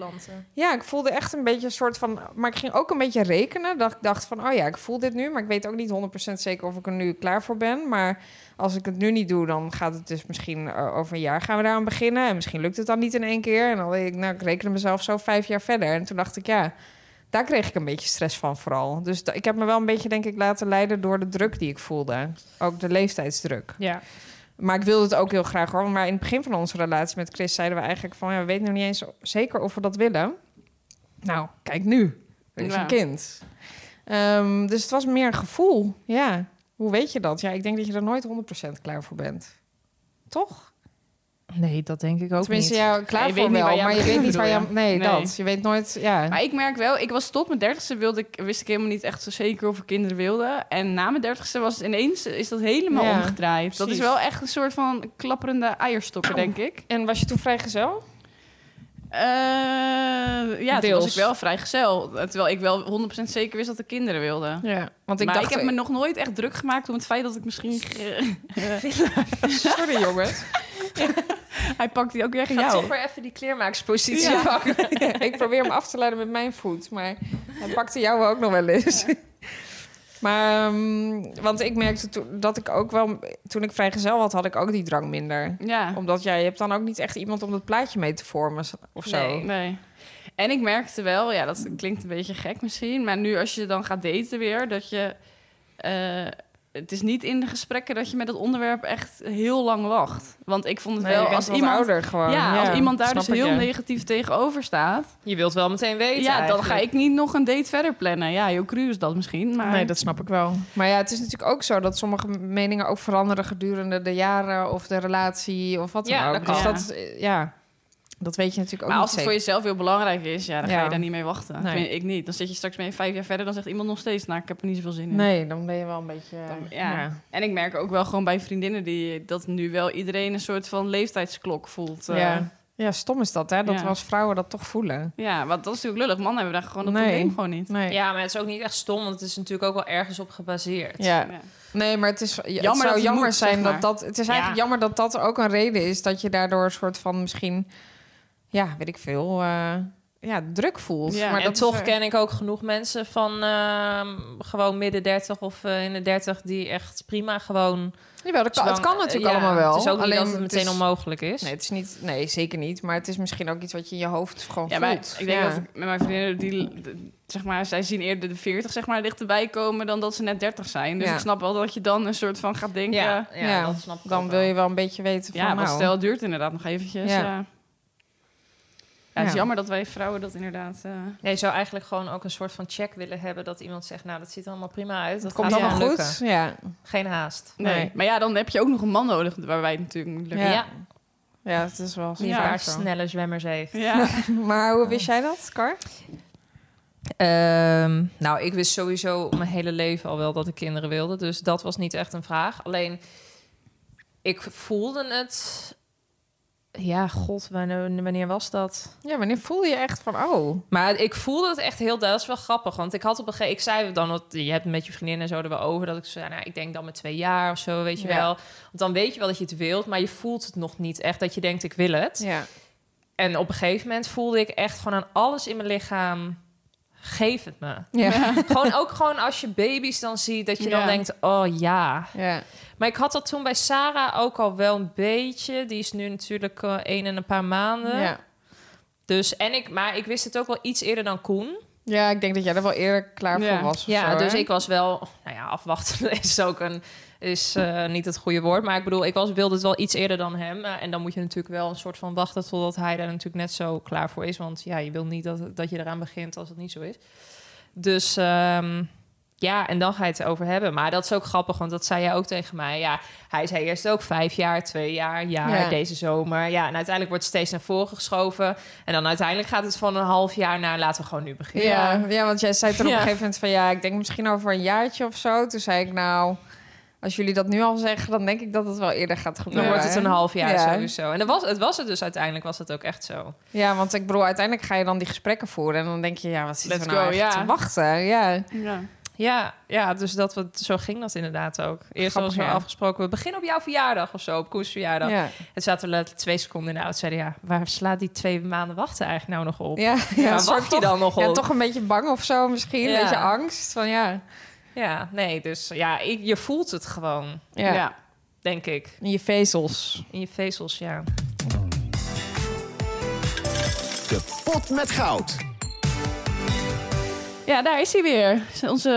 Ja, ik voelde echt een beetje een soort van. Maar ik ging ook een beetje rekenen. Dat ik dacht van, oh ja, ik voel dit nu. Maar ik weet ook niet 100% zeker of ik er nu klaar voor ben. Maar als ik het nu niet doe, dan gaat het dus misschien eh, over een jaar gaan we daaraan beginnen. En misschien lukt het dan niet in één keer. En dan denk ik, nou, ik reken mezelf zo vijf jaar verder. En toen dacht ik, ja, daar kreeg ik een beetje stress van vooral. Dus da- ik heb me wel een beetje, denk ik, laten leiden door de druk die ik voelde. Ook de leeftijdsdruk. Ja. Maar ik wilde het ook heel graag hoor. Maar in het begin van onze relatie met Chris zeiden we eigenlijk van... Ja, we weten nog niet eens zeker of we dat willen. Nou, kijk nu. Er is Ja. een kind. Ehm, dus het was meer een gevoel. Ja, hoe weet je dat? Ja, ik denk dat je er nooit 100% klaar voor bent. Toch? Nee, dat denk ik ook Tenminste, niet. ja, klaar Nee, je voor weet niet wel, waar je aan maar je begint, weet niet waar je... bedoel aan- Nee, Nee. dat. Je weet nooit... Ja. Maar ik merk wel, ik was tot mijn dertigste wilde ik, wist ik helemaal niet echt zo zeker of ik kinderen wilde. En na mijn dertigste was het ineens is dat helemaal Ja, omgedraaid. Dat is precies. wel echt een soort van klapperende eierstokken, denk ik. En was je toen vrijgezel? Eh, ja, toen Deels. was ik wel vrijgezel. Terwijl ik wel 100% zeker wist dat ik kinderen wilde. Ja. Want ik maar dacht... ik heb me nog nooit echt druk gemaakt om het feit dat ik misschien... ge- Sorry jongens. Hij pakt die ook weer aan Ga jou. toch weer even die kleermaakspositie Ja. pakken. ik probeer hem af te leiden met mijn voet, maar hij pakte jou ook nog wel eens. Maar, ehm, want ik merkte toen dat ik ook wel, toen ik vrijgezel had, had ik ook die drang minder. Ja, Omdat jij, je hebt dan ook niet echt iemand om dat plaatje mee te vormen of zo. Nee. nee. En ik merkte wel, ja, dat klinkt een beetje gek misschien. Maar nu als je dan gaat daten weer, dat je... eh, het is niet in de gesprekken dat je met het onderwerp echt heel lang wacht. Want ik vond het Nee, je wel, bent als wat iemand, ouder gewoon. ja, als iemand daar snap dus ik, heel ja. negatief tegenover staat... Je wilt wel meteen weten Ja, dan eigenlijk. ga ik niet nog een date verder plannen. Ja, heel cru is dat misschien, maar... Nee, dat snap ik wel. Maar ja, het is natuurlijk ook zo dat sommige meningen ook veranderen gedurende de jaren of de relatie of wat dan Ja, ook. dat dus kan. dat, eh, ja, dat weet je natuurlijk ook maar niet als het zeker. voor jezelf heel belangrijk is, ja, dan ga Ja. je daar niet mee wachten. Nee. Tenminste, Ik niet. Dan zit je straks mee vijf jaar verder, dan zegt iemand nog steeds... nou, ik heb er niet zoveel zin in. Nee, dan ben je wel een beetje... eh, Dan- ja. En ik merk ook wel gewoon bij vriendinnen die dat nu wel iedereen een soort van leeftijdsklok voelt. eh. Ja. ja, stom is dat, hè? Dat Ja. we als vrouwen dat toch voelen. ja, want dat is natuurlijk lullig. Mannen hebben daar gewoon dat Nee. probleem gewoon niet. Nee. Ja, maar het is ook niet echt stom, want het is natuurlijk ook wel ergens op gebaseerd. Ja. Ja. Nee, maar het, is, ja, Jammer het zou dat het jammer moet, zijn zeg dat maar. dat... Het is Ja. eigenlijk jammer dat dat ook een reden is... dat je daardoor een soort van misschien... Ja, weet ik veel... eh, ja, druk voelt. Ja. maar en eh, dat toch is er- ken ik ook genoeg mensen van ehm, gewoon midden 30 of eh, in de 30 die echt prima gewoon. Jawel, dat kan, het kan zwanger- natuurlijk Dus eh, ja, allemaal wel. Het is ook niet dat het het meteen is- onmogelijk is. Nee, het is niet, nee, zeker niet. Maar het is misschien ook iets wat je in je hoofd gewoon Ja, maar voelt. ik denk Ja. dat ik met mijn vriendinnen, die, de- zeg maar, zij zien eerder de 40 zeg maar, dichterbij komen dan dat ze net 30 zijn. Dus Ja. ik snap wel dat je dan een soort van gaat denken. ja, Ja, ja, ja, dat snap ik Dan ook wil wel. je wel een beetje weten van want nou... stel het duurt inderdaad nog eventjes. Ja. Ja. Ja. het is Ja. jammer dat wij vrouwen dat inderdaad... eh, Ja, je zou eigenlijk gewoon ook een soort van check willen hebben dat iemand zegt, nou dat ziet er allemaal prima uit. Dat het komt gaat allemaal wel goed. lukken. Ja. Geen haast. nee. Nee. Maar ja, dan heb je ook nog een man nodig waar wij het natuurlijk moet lukken. Ja. Ja, ja, het is wel die Ja. vaak vaak zo. snelle zwemmers heeft. Ja. Maar hoe wist jij dat, Kar? Ehm, nou, ik wist sowieso mijn hele leven al wel dat ik kinderen wilde. Dus dat was niet echt een vraag. Alleen, ik voelde het... Ja, god, wanneer, wanneer was dat? Ja, wanneer voel je echt van, oh... Maar ik voelde het echt heel... Dat is wel grappig, want ik had op een gegeven... Ik zei dan, want je hebt met je vriendin en zo er wel over... dat ik zei, nou, ik denk dan met twee jaar of zo, weet je Ja. wel. Want dan weet je wel dat je het wilt, maar je voelt het nog niet echt... dat je denkt, ik wil het. Ja. En op een gegeven moment voelde ik echt gewoon aan alles in mijn lichaam... geef het me. Ja. gewoon ook gewoon als je baby's dan ziet, dat je dan Ja. denkt, oh ja. ja. Maar ik had dat toen bij Sarah ook al wel een beetje. Die is nu natuurlijk eh, één en een paar maanden. ja. Dus, en ik, maar ik wist het ook wel iets eerder dan Koen. Ja, ik denk dat jij er wel eerder klaar Ja. voor was. of Ja, zo, dus hè? ik was wel, nou ja, afwachten is ook een, is eh, niet het goede woord. Maar ik bedoel, ik was, wilde het wel iets eerder dan hem. Eh, en dan moet je natuurlijk wel een soort van wachten totdat hij daar natuurlijk net zo klaar voor is. Want ja, je wil niet dat, dat je eraan begint als het niet zo is. Dus ehm, ja, en dan ga je het erover hebben. Maar dat is ook grappig, want dat zei jij ook tegen mij. Ja, hij zei eerst ook vijf jaar, twee jaar, jaar, Ja. deze zomer. Ja, en uiteindelijk wordt het steeds naar voren geschoven. En dan uiteindelijk gaat het van een half jaar naar laten we gewoon nu beginnen. Ja, ja, want jij zei er op een Ja. gegeven moment van... ja, ik denk misschien over een jaartje of zo. Toen zei ik, nou... Als jullie dat nu al zeggen, dan denk ik dat het wel eerder gaat Dan gebeuren. wordt het een hè? half jaar dus- Ja. sowieso. En dan was, het was het dus uiteindelijk, was het ook echt zo. Ja, want ik bedoel, uiteindelijk ga je dan die gesprekken voeren. En dan denk je, ja, wat zit er Let's nou go, eigenlijk ja. te wachten? Ja. Ja. Ja, ja dus dat we, zo ging dat inderdaad ook. Eerst Grappig, was wel ja. afgesproken, we beginnen op jouw verjaardag of zo, op Koens verjaardag. Ja. En zaten we letterlijk twee seconden in de auto zeiden, ja, waar slaat die twee maanden wachten eigenlijk nou nog op? Ja, Ja, ja, wacht je dan nog Ja, op? toch een beetje bang of zo misschien. Ja. Een beetje angst. Van ja. Ja, nee, dus ja, ik, je voelt het gewoon, ja. denk ik, In je vezels. in je vezels, ja. De pot met goud. Ja, daar is hij weer. Onze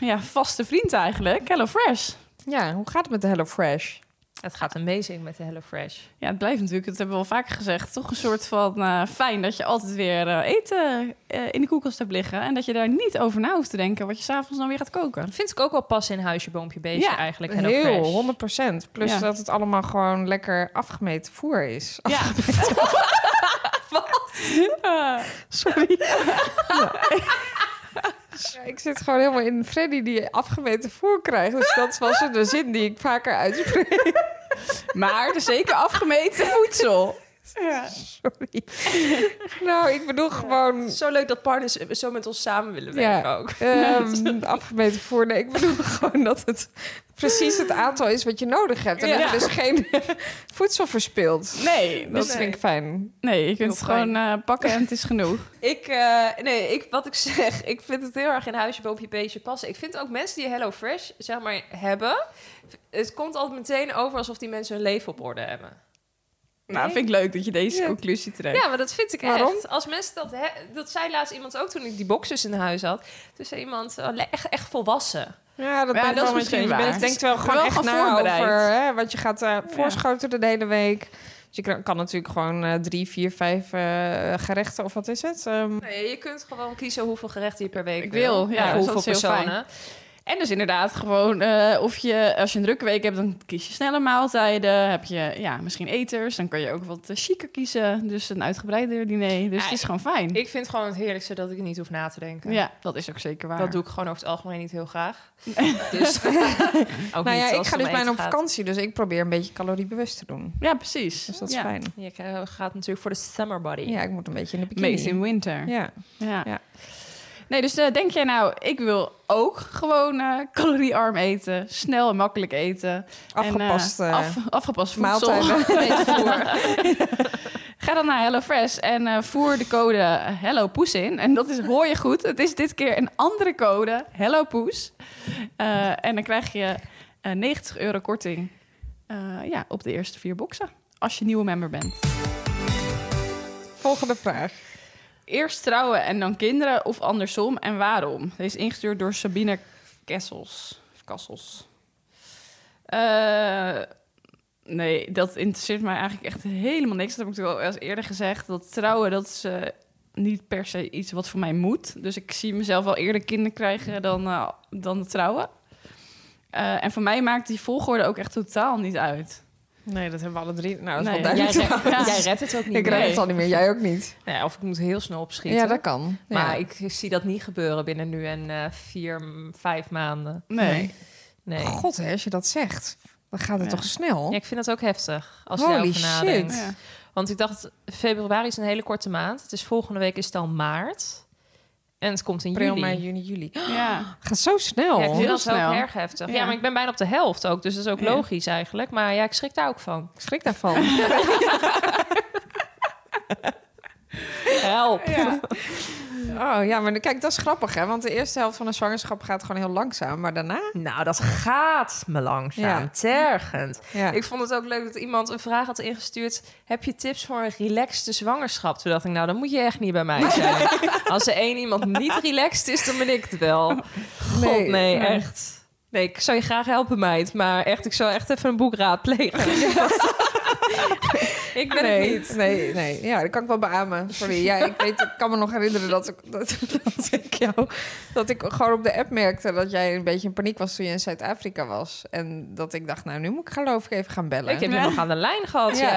eh, ja, vaste vriend eigenlijk, HelloFresh. Ja, hoe gaat het met de HelloFresh? Het gaat amazing met de HelloFresh. Ja, het blijft natuurlijk, dat hebben we al vaker gezegd, toch een soort van eh, fijn dat je altijd weer eh, eten eh, in de koelkast hebt liggen. En dat je daar niet over na hoeft te denken wat je s'avonds dan weer gaat koken. Vind ik ook wel pas in huisje, boompje, beestje Ja, eigenlijk, HelloFresh. Heel, 100%. Plus Ja. dat het allemaal gewoon lekker afgemeten voer is. Ja. Eh, sorry. Ik zit gewoon helemaal in Freddy die afgemeten voer krijgt. Dus dat was de zin die ik vaker uitspreek. Maar er is zeker afgemeten voedsel. Sorry. Nou, ik bedoel gewoon... Zo leuk dat partners eh, zo met ons samen willen Hmm. Ja. werken ook. ehm, afgemeten voer. Nee, ik bedoel gewoon dat het precies het aantal is wat je nodig hebt. En Ja. dat je dus geen voedsel verspilt. Nee, Dat dus, vind ik fijn. nee, je kunt het Heel fijn. gewoon eh, pakken en het is genoeg. Ik, eh, nee, ik, wat ik zeg, ik vind het heel erg in huisje, boompje, beestje passen. Ik vind ook mensen die Hello Fresh zeg maar, hebben, het komt altijd meteen over alsof die mensen hun leven op orde hebben. Nou, vind ik leuk dat je deze Ja. conclusie trekt. Ja, maar dat vind ik Waarom? echt. Als mensen dat, he- dat zei laatst iemand ook toen ik die boxers in huis had. Toen zei iemand, oh, le- echt, echt volwassen. Ja, dat Ja, ben ik wel dat met is je misschien eens. waar. Maar Ik denk wel gewoon Wel echt gewoon na voorbereid. over, hè, want je gaat eh voorschotelen de hele week. Dus je kan- kan natuurlijk gewoon eh, drie, vier, vijf eh, gerechten of wat is het? Ehm, Nee, je kunt gewoon kiezen hoeveel gerechten je per week Ik wil, ja, Of dus hoeveel dat is heel personen. En dus inderdaad gewoon, eh, of je, als je een drukke week hebt, dan kies je snelle maaltijden. Heb je ja, misschien eters, dan kan je ook wat eh, chiquer kiezen. Dus een uitgebreider diner. Dus Ah, het is gewoon fijn. Ik vind gewoon het heerlijkste dat ik niet hoef na te denken. ja, dat is ook zeker waar. Dat doe ik gewoon over het algemeen niet heel graag. Dus, ook nou ja, niet ik als ga het dus om bijna eten op gaat. vakantie, dus ik probeer een beetje caloriebewust te doen. Ja, precies. Dus dat is ja. fijn. Je k- gaat natuurlijk voor de summer body. Ja, ik moet een beetje in de bikini. Meest in winter. Ja. Ja. Ja. Nee, dus eh, denk jij nou, ik wil ook gewoon eh, caloriearm eten. Snel en makkelijk eten. En, eh, Afgepast. eh, af- afgepast voedsel. maaltijden. Maaltijden. Ga dan naar HelloFresh en eh, voer de code Hello Poes in. En dat is, hoor je goed, het is dit keer een andere code, Hello Poes. Eh, en dan krijg je eh, 90 euro korting eh, ja, op de eerste vier boxen. Als je nieuwe member bent. Volgende vraag. Eerst trouwen en dan kinderen of andersom en waarom? Deze is ingestuurd door Sabine Kessels. Of Kassels. Eh, nee, dat interesseert mij eigenlijk echt helemaal niks. Dat heb ik natuurlijk al eens eerder gezegd. Dat trouwen, dat is eh, niet per se iets wat voor mij moet. Dus ik zie mezelf wel eerder kinderen krijgen dan, eh, dan het trouwen. Eh, en voor mij maakt die volgorde ook echt totaal niet uit. Nee, dat hebben we alle drie. Nou, dat is Nee, wel Jij, duidelijk. redt, Ja. jij redt het ook niet. Ik meer. red het al niet meer. Jij ook niet. Nee, Nou of ik moet heel snel opschieten. Ja, dat kan. Maar Ja. ik zie dat niet gebeuren binnen nu en eh, vier, m, vijf maanden. Nee. Nee. God, hè, als je dat zegt, dan gaat het Ja. toch snel? Ja, ik vind dat ook heftig als je Holy daarover nadenkt. shit. Ja. Want ik dacht, februari is een hele korte maand. Het is volgende week is het al maart. En het komt in April, juli. mei, juni, juli. ja. Gaat zo snel. Ja, ik Heel vind dat wel snel. erg heftig. Ja. Ja. maar ik ben bijna op de helft ook. Dus dat is ook Ja. logisch eigenlijk. Maar ja, ik schrik daar ook van. Ik schrik daarvan. Help. Ja. Oh ja, maar kijk, dat is grappig hè. Want de eerste helft van een zwangerschap gaat gewoon heel langzaam. Maar daarna? Nou, dat gaat me langzaam. Ja. Tergend. Ja. Ik vond het ook leuk dat iemand een vraag had ingestuurd. Heb je tips voor een relaxte zwangerschap? Toen dacht ik, nou, dan moet je echt niet bij mij zijn. Als er één iemand niet relaxed is, dan ben ik het wel. God, Nee. nee, echt. Nee, ik zou je graag helpen, meid. Maar echt, ik zou echt even een boek raadplegen. ik ben het nee, niet. nee, nee. Ja, dat kan ik wel beamen. Sorry. Ja, ik, weet, ik kan me nog herinneren dat ik, dat, dat ik jou... Dat ik gewoon op de app merkte dat jij een beetje in paniek was toen je in Zuid-Afrika was. En dat ik dacht, nou, nu moet ik geloof ik even gaan bellen. Ik heb je nog aan de lijn gehad, Ja.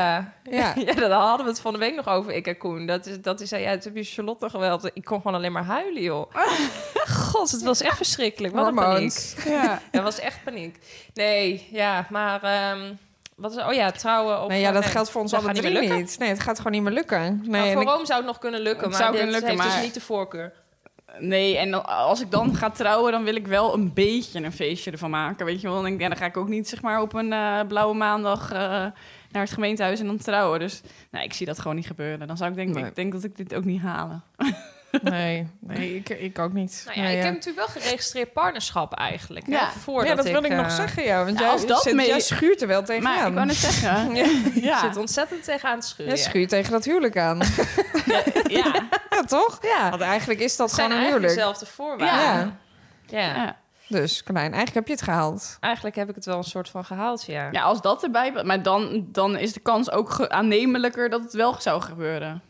ja. ja. Ja. daar hadden we het van de week nog over, ik en Koen. Dat is, dat is ja, toen heb je Charlotte geweld. Ik kon gewoon alleen maar huilen, joh. God, het was echt verschrikkelijk. Wat een paniek. Hormoons. Ja. Dat was echt paniek. Nee, ja, maar... ehm, wat is, oh ja, trouwen of... Nee, ja, dat nee, geldt voor ons dat alle gaat drie niet meer niet, lukken. Nee, het gaat gewoon niet meer lukken. Nee, Nou, en voor ik- Rome zou het nog kunnen lukken, Het maar zou dit kunnen lukken, heeft maar- dus niet de voorkeur. Nee, en dan- als ik dan ga trouwen, dan wil ik wel een beetje een feestje ervan maken. Weet je wel, dan, denk ik, ja, dan ga ik ook niet zeg maar, op een eh, blauwe maandag eh, naar het gemeentehuis en dan trouwen. Dus nou, ik zie dat gewoon niet gebeuren. Dan zou ik denken, Nee. ik denk dat ik dit ook niet halen. Nee, nee ik, ik ook niet. Nou ja, Nee, ik ja. heb natuurlijk wel geregistreerd partnerschap eigenlijk. hè, Ja. voordat ja, dat wil ik, nog eh, zeggen, ja. Want ja, jij, als dat zit, mee- jij schuurt er wel tegenaan. Maar ik wou net zeggen, Ja. ja, zit ontzettend tegenaan te schuren. Jij ja. schuurt tegen dat huwelijk aan. ja, ja, ja, toch? Ja. Want eigenlijk is dat Het zijn gewoon een eigenlijk huwelijk. dezelfde Ja. voorwaarden. Ja. ja. Dus, Carlijn, eigenlijk heb je het gehaald. Eigenlijk heb ik het wel een soort van gehaald, ja. Ja, als dat erbij... Maar dan, dan is de kans ook ge- aannemelijker dat het wel zou gebeuren.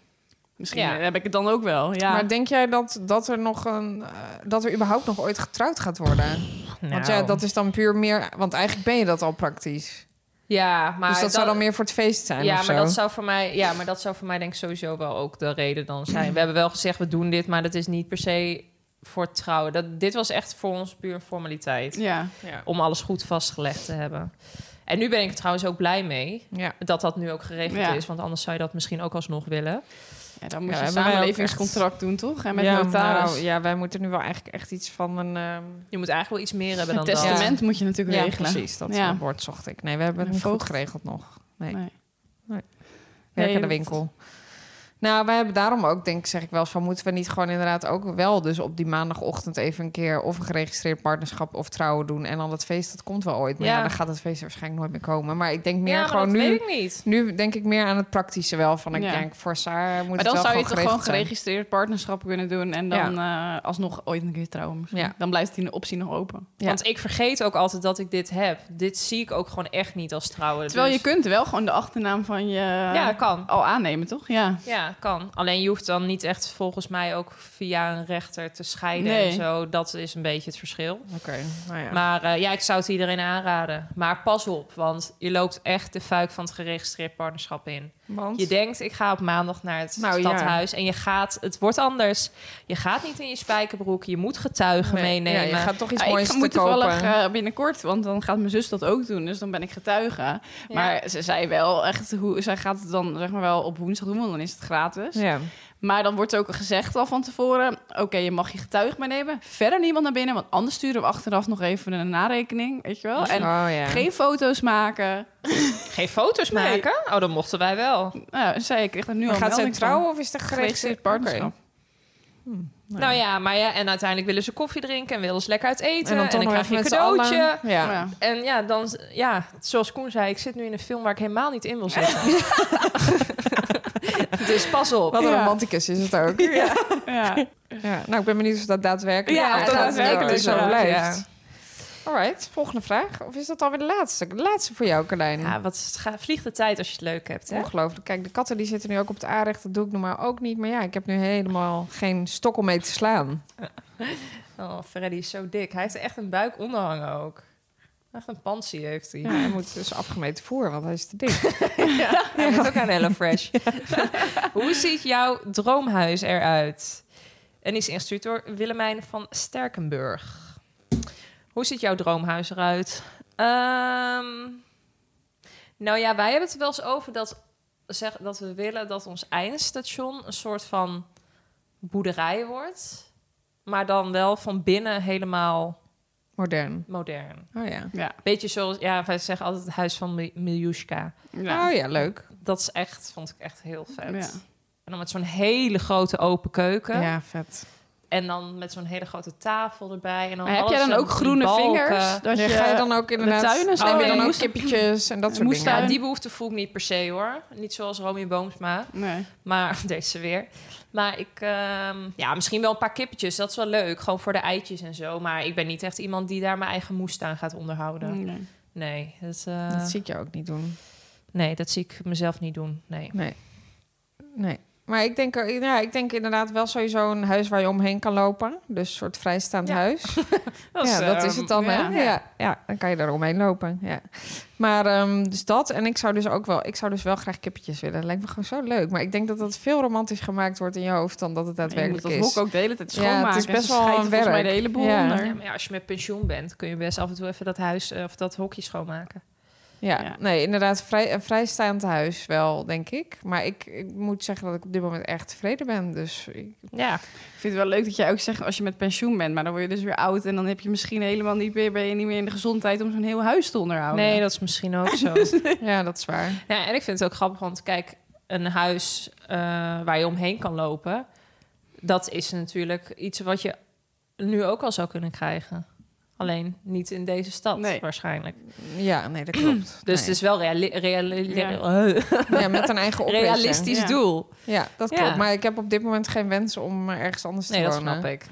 Misschien Ja. heb ik het dan ook wel, ja. Maar denk jij dat, dat er nog een... eh, dat er überhaupt nog ooit getrouwd gaat worden? Want ja, dat is dan puur meer... Want eigenlijk ben je dat al praktisch. Ja, maar dus dat, zou dat- dan meer voor het feest zijn ja, of maar zo. dat zou voor mij, ja, maar dat zou voor mij denk ik sowieso wel ook de reden dan zijn. We hebben wel gezegd, we doen dit, maar dat is niet per se voor trouwen. Dat, dit was echt voor ons puur een formaliteit. Ja. Om alles goed vastgelegd te hebben. En nu ben ik er trouwens ook blij mee Ja. dat dat nu ook geregeld Ja. is. Want anders zou je dat misschien ook alsnog willen. ja, dan moet Ja, je hebben een wij ook samenlevingscontract doen, toch? En met ja, notaris. nou, ja, wij moeten nu wel eigenlijk echt iets van een... ehm, Je moet eigenlijk wel iets meer hebben dan Het dat. testament. testament moet je natuurlijk ja, regelen. precies. Dat Ja. woord zocht ik. Nee, we hebben het Een niet goed voogd. geregeld nog. Nee. Nee. Werk Nee, aan de dat- winkel. Nou, wij hebben daarom ook, denk ik, zeg ik wel eens van... moeten we niet gewoon inderdaad ook wel dus op die maandagochtend even een keer... of een geregistreerd partnerschap of trouwen doen. En dan dat feest, dat komt wel ooit. Maar ja, Ja. dan gaat dat feest waarschijnlijk nooit meer komen. Maar ik denk meer Ja, maar gewoon dat nu... weet ik niet. Nu denk ik meer aan het praktische wel. Van ik Ja. denk, voor Saar moet Maar het dan wel zou je gewoon toch gewoon geregeld zijn. geregistreerd partnerschap kunnen doen en dan eh, alsnog ooit een keer trouwen. misschien. Ja. Dan blijft die optie nog open. Ja. Want ik vergeet ook altijd dat ik dit heb. Dit zie ik ook gewoon echt niet als trouwen. Terwijl je dus- kunt wel gewoon de achternaam van je eh, Ja, kan. al aannemen, toch? Ja. Ja, kan. Alleen je hoeft dan niet echt volgens mij ook via een rechter te scheiden Nee. en zo. Dat is een beetje het verschil. Oké, nou ja. Maar eh, ja, ik zou het iedereen aanraden. Maar pas op, want je loopt echt de fuik van het geregistreerd partnerschap in. Want... Je denkt, ik ga op maandag naar het Nou, ja. stadhuis en je gaat, het wordt anders. Je gaat niet in je spijkerbroek, je moet getuigen Nee, meenemen. Ja, je gaat toch iets Ah, ik moois ga- te moet toevallig kopen. eh, binnenkort, want dan gaat mijn zus dat ook doen. Dus dan ben ik getuige. Maar ze zei wel echt, hoe, zij gaat het dan zeg maar wel op woensdag doen, want dan is het gratis. ja. Maar dan wordt er ook gezegd al van tevoren... oké, je mag je getuige meenemen. Verder niemand naar binnen, want anders sturen we achteraf nog even een narekening. Weet je wel? En Oh, ja. geen foto's maken. Geen foto's Nee. maken? Oh, dat mochten wij wel. Nou, zei ik, kreeg er nu al Maar een gaat zij melding van. trouwen of is het een Geregistreerd geregistreerd Hm, Hmm, partnerschap. Oké. Nou ja, maar ja, en uiteindelijk willen ze koffie drinken en willen ze lekker uit eten. En dan toch nog krijg je even met een z'n allen. cadeautje. Ja. Ja. En ja, dan, ja, zoals Koen zei, ik zit nu in een film waar ik helemaal niet in wil zitten. dus pas op. Wat een Ja. romanticus is het ook. Ja. Ja. Nou, ik ben benieuwd of dat daadwerkelijk, Ja, of dat dat daadwerkelijk daadwerkelijk zo ja. blijft. Alright, volgende vraag. Of is dat alweer de laatste? De laatste voor jou, Carlijn. Ja, wat is het ga- vliegt de tijd als je het leuk hebt, hè? Ongelooflijk. Kijk, de katten die zitten nu ook op het aanrecht. Dat doe ik normaal ook niet. Maar ja, ik heb nu helemaal geen stok om mee te slaan. Oh, Freddy is zo dik. Hij heeft echt een buik onderhangen ook. Echt een pansie heeft hij. Ja, hij moet dus afgemeten voer, want hij is te dik. Hij moet ook aan HelloFresh. Hoe ziet jouw droomhuis eruit? En die is ingestuurd door Willemijn van Sterkenburg. Hoe ziet jouw droomhuis eruit? Ehm, nou ja, wij hebben het er wel eens over dat, zeg, dat we willen dat ons eindstation een soort van boerderij wordt. Maar dan wel van binnen helemaal Modern. modern. Oh ja. Ja. Beetje zoals, ja, wij zeggen altijd het huis van Mi- Miljushka. Ja. Oh ja, leuk. Dat is echt, vond ik echt heel vet. Ja. En dan met zo'n hele grote open keuken. Ja, vet. En dan met zo'n hele grote tafel erbij. En Ah, dan Maar heb jij alles dan in- ook in groene balken. vingers? Dat Ja, je, ga je dan ook inderdaad... tuinen zo neem je dan mee? ook kippetjes en dat soort Moestuin. Ja, dingen? die behoefte voel ik niet per se hoor. Niet zoals Romy Boomsma. Nee. Maar deze weer. Maar ik, ehm, ja, misschien wel een paar kippetjes. Dat is wel leuk. Gewoon voor de eitjes en zo. Maar ik ben niet echt iemand die daar mijn eigen moestuin gaat onderhouden. Nee. Nee, dat, eh, Dat zie ik je ook niet doen. nee, dat zie ik mezelf niet doen. Nee. Nee. Nee. Maar ik denk, eh, ja, ik denk inderdaad wel sowieso een huis waar je omheen kan lopen. Dus een soort vrijstaand Ja. huis. Dat is, ja, dat is ehm, het dan, hè? ja. Ja. Ja, dan kan je daar omheen lopen. Ja. Maar ehm, dus dat. En ik zou dus ook wel, ik zou dus wel graag kippetjes willen. Dat lijkt me gewoon zo leuk. Maar ik denk dat dat veel romantisch gemaakt wordt in je hoofd dan dat het Je moet daadwerkelijk dat is. hok ook de hele tijd Ja, het schoonmaken. is en best ze wel een scheiden volgens mij werk. de hele boel Ja. onder. Ja, maar ja, als je met pensioen bent, kun je best af en toe even dat huis eh, of dat hokje schoonmaken. Ja, Ja. nee, inderdaad, vrij, een vrijstaand huis wel, denk ik. Maar ik, ik moet zeggen dat ik op dit moment echt tevreden ben. Dus ik- Ja, Ik vind het wel leuk dat jij ook zegt als je met pensioen bent, maar dan word je dus weer oud en dan heb je misschien helemaal niet meer, ben je niet meer in de gezondheid om zo'n heel huis te Oh, onderhouden. nee, dat is misschien ook zo. ja, dat is waar. ja, en ik vind het ook grappig, want kijk, een huis eh, waar je omheen kan lopen, dat is natuurlijk iets wat je nu ook al zou kunnen krijgen. Alleen niet in deze stad Nee. waarschijnlijk. Dus Ja, nee, dat klopt. het is wel reali- reali- Ja, met een eigen oplossing. realistisch Ja. doel. Ja, dat Ja. klopt. Maar ik heb op dit moment geen wens om eh, ergens anders te Nee, dat wonen. snap ik. Ik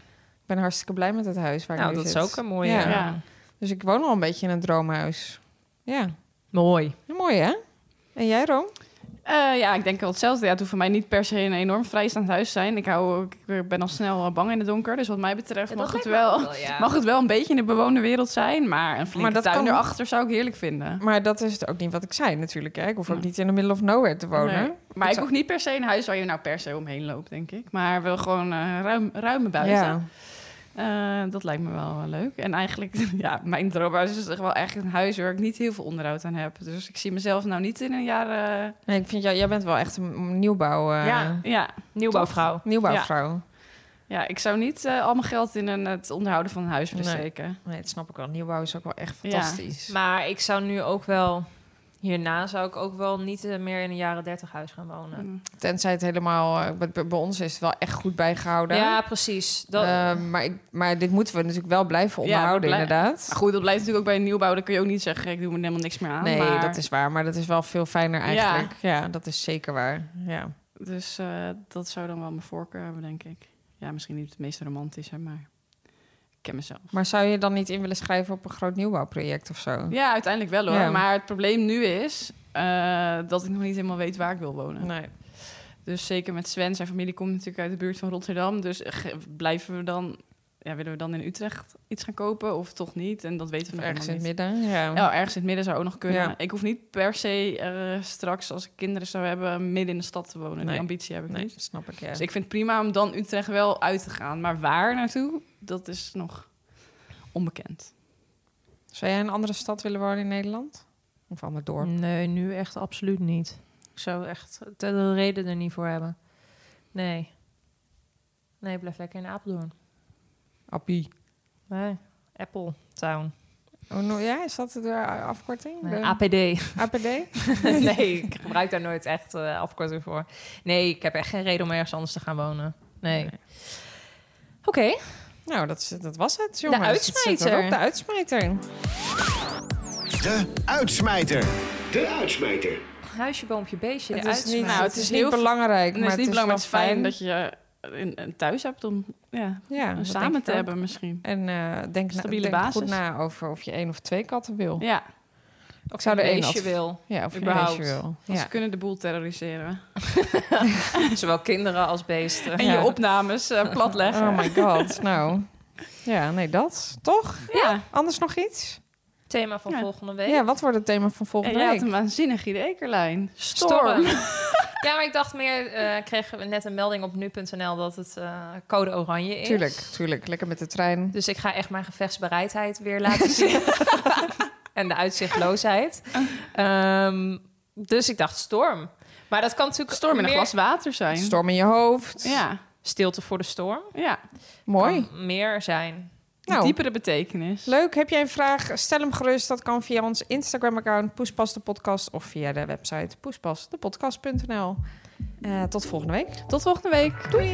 ben hartstikke blij met het huis waar Nou, ik nu dat is zit. ook een mooie. Ja. Ja. Dus ik woon al een beetje in een droomhuis. Ja, Mooi. mooi hè? En jij, Room? Eh, ja, ik denk wel hetzelfde. Ja, het hoeft voor mij niet per se een enorm vrijstaand huis te zijn. Ik, hou, ook- ik ben al snel eh, bang in het donker, dus wat mij betreft mag, het wel, mag het wel een beetje in de bewoonde wereld zijn, maar een flinke Maar dat tuin kan- erachter zou ik heerlijk vinden. Maar dat is het ook niet wat ik zei natuurlijk. Hè? Ik hoef ook Nee. niet in de middle of nowhere te wonen. Nee. Ik Maar ik zou- hoef niet per se een huis waar je nou per se omheen loopt, denk ik. Maar wel gewoon eh ruim, ruime buiten. Ja. Eh, dat lijkt me wel eh, leuk. En eigenlijk, ja, mijn droomhuis is toch wel echt een huis waar ik niet heel veel onderhoud aan heb. Dus ik zie mezelf nou niet in een jaar... eh, Nee, ik vind jou, jij bent wel echt een nieuwbouw, eh, ja. ja. Nieuwbouwvrouw. nieuwbouwvrouw. Ja, ik zou niet eh, al mijn geld in een, het onderhouden van een huis willen Nee. steken. Nee, dat snap ik wel. Nieuwbouw is ook wel echt Ja. fantastisch. Maar ik zou nu ook wel... Hierna zou ik ook wel niet eh, meer in een jaren dertig huis gaan wonen. Tenzij het helemaal... eh, bij- bij- bij ons is het wel echt goed bijgehouden. Ja, precies. Dat, Eh, maar, ik, maar dit moeten we natuurlijk wel blijven Ja, onderhouden, blij- inderdaad. Maar goed, dat blijft natuurlijk ook bij een nieuwbouw. Dan kun je ook niet zeggen, ik doe me helemaal niks meer aan. Nee, maar- dat is waar. Maar dat is wel veel fijner eigenlijk. Ja, dat is zeker waar. Ja. Dus eh, dat zou dan wel mijn voorkeur hebben, denk ik. Ja, misschien niet het meest romantische, maar ik ken mezelf. Maar zou je dan niet in willen schrijven op een groot nieuwbouwproject of zo? Ja, uiteindelijk wel hoor. Ja. Maar het probleem nu is eh, dat ik nog niet helemaal weet waar ik wil wonen. Nee. Dus zeker met Sven, zijn familie komt natuurlijk uit de buurt van Rotterdam. Dus eh, ge- blijven we dan, ja, willen we dan in Utrecht iets gaan kopen of toch niet? En dat weten we Of nog ergens in het helemaal niet. midden. Ja. Ja, Oh, ergens in het midden zou ook nog kunnen. Ja. Ik hoef niet per se eh, straks, als ik kinderen zou hebben, midden in de stad te wonen. Nee. Die ambitie heb ik Nee, niet. dat snap ik. Ja. Dus ik vind het prima om dan Utrecht wel uit te gaan. Maar waar naartoe, dat is nog onbekend. Zou jij in een andere stad willen wonen in Nederland? Of een ander dorp? Mm. Nee, nu echt absoluut niet. Ik zou echt de reden er niet voor hebben. Nee. Nee, blijf lekker in Apeldoorn. Appie. Nee, Apple Town. Oh, nou, ja, is dat de eh, afkorting? Nee, De APD. APD? nee, ik gebruik daar nooit echt eh, afkorting voor. Nee, ik heb echt geen reden om ergens anders te gaan wonen. Nee. Oké. Nou, dat, is- dat was het, jongens. De Dat zit uitsmijter. erop, De uitsmijter. De uitsmijter. De uitsmijter. Huisje, boompje, beestje. Het de is niet, uitsmijter. Nou, het is is niet heel- belangrijk, En maar het is niet wel belangrijk, het is fijn dat je eh, een, een thuis hebt om ja, ja, dat denk samen ik te ook. hebben misschien. En eh, denk, na- Stabiele denk basis. goed na over of je één of twee katten wil. Ja, Ik zou er één beestje adv- wil. Ja, of je een Überhaupt. beestje wil. want ze Ja. kunnen de boel terroriseren. Zowel kinderen als beesten. En Ja. je opnames eh, platleggen. Oh my god, nou. Ja, nee, dat. Toch? Ja, Anders nog iets? Thema van Ja. volgende week. Ja, wat wordt het thema van en volgende je had week? een waanzinnig idee, Carlijn. Storm. Storm. ja, maar ik dacht meer, eh kregen we net een melding op nu.nl dat het eh, code oranje is. Tuurlijk, tuurlijk. Lekker met de trein. Dus ik ga echt mijn gevechtsbereidheid weer laten zien. en de uitzichtloosheid. Ehm, dus ik dacht storm. Maar dat kan natuurlijk Storm in een meer- glas water zijn. Storm in je hoofd. Ja, Stilte voor de storm. ja. Mooi. Kan meer zijn. Nou, diepere betekenis. leuk. Heb jij een vraag? Stel hem gerust. Dat kan via ons Instagram-account Poespas de Podcast of via de website poespasdepodcast.nl. Eh tot volgende week. Tot volgende week. Doei.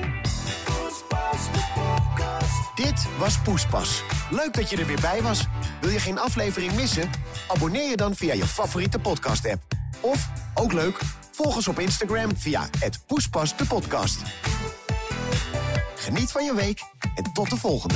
Dit was Poespas. Leuk dat je er weer bij was. Wil je geen aflevering missen? Abonneer je dan via je favoriete podcast-app. Of, ook leuk, volg ons op Instagram via het Poespas de podcast. Geniet van je week en tot de volgende.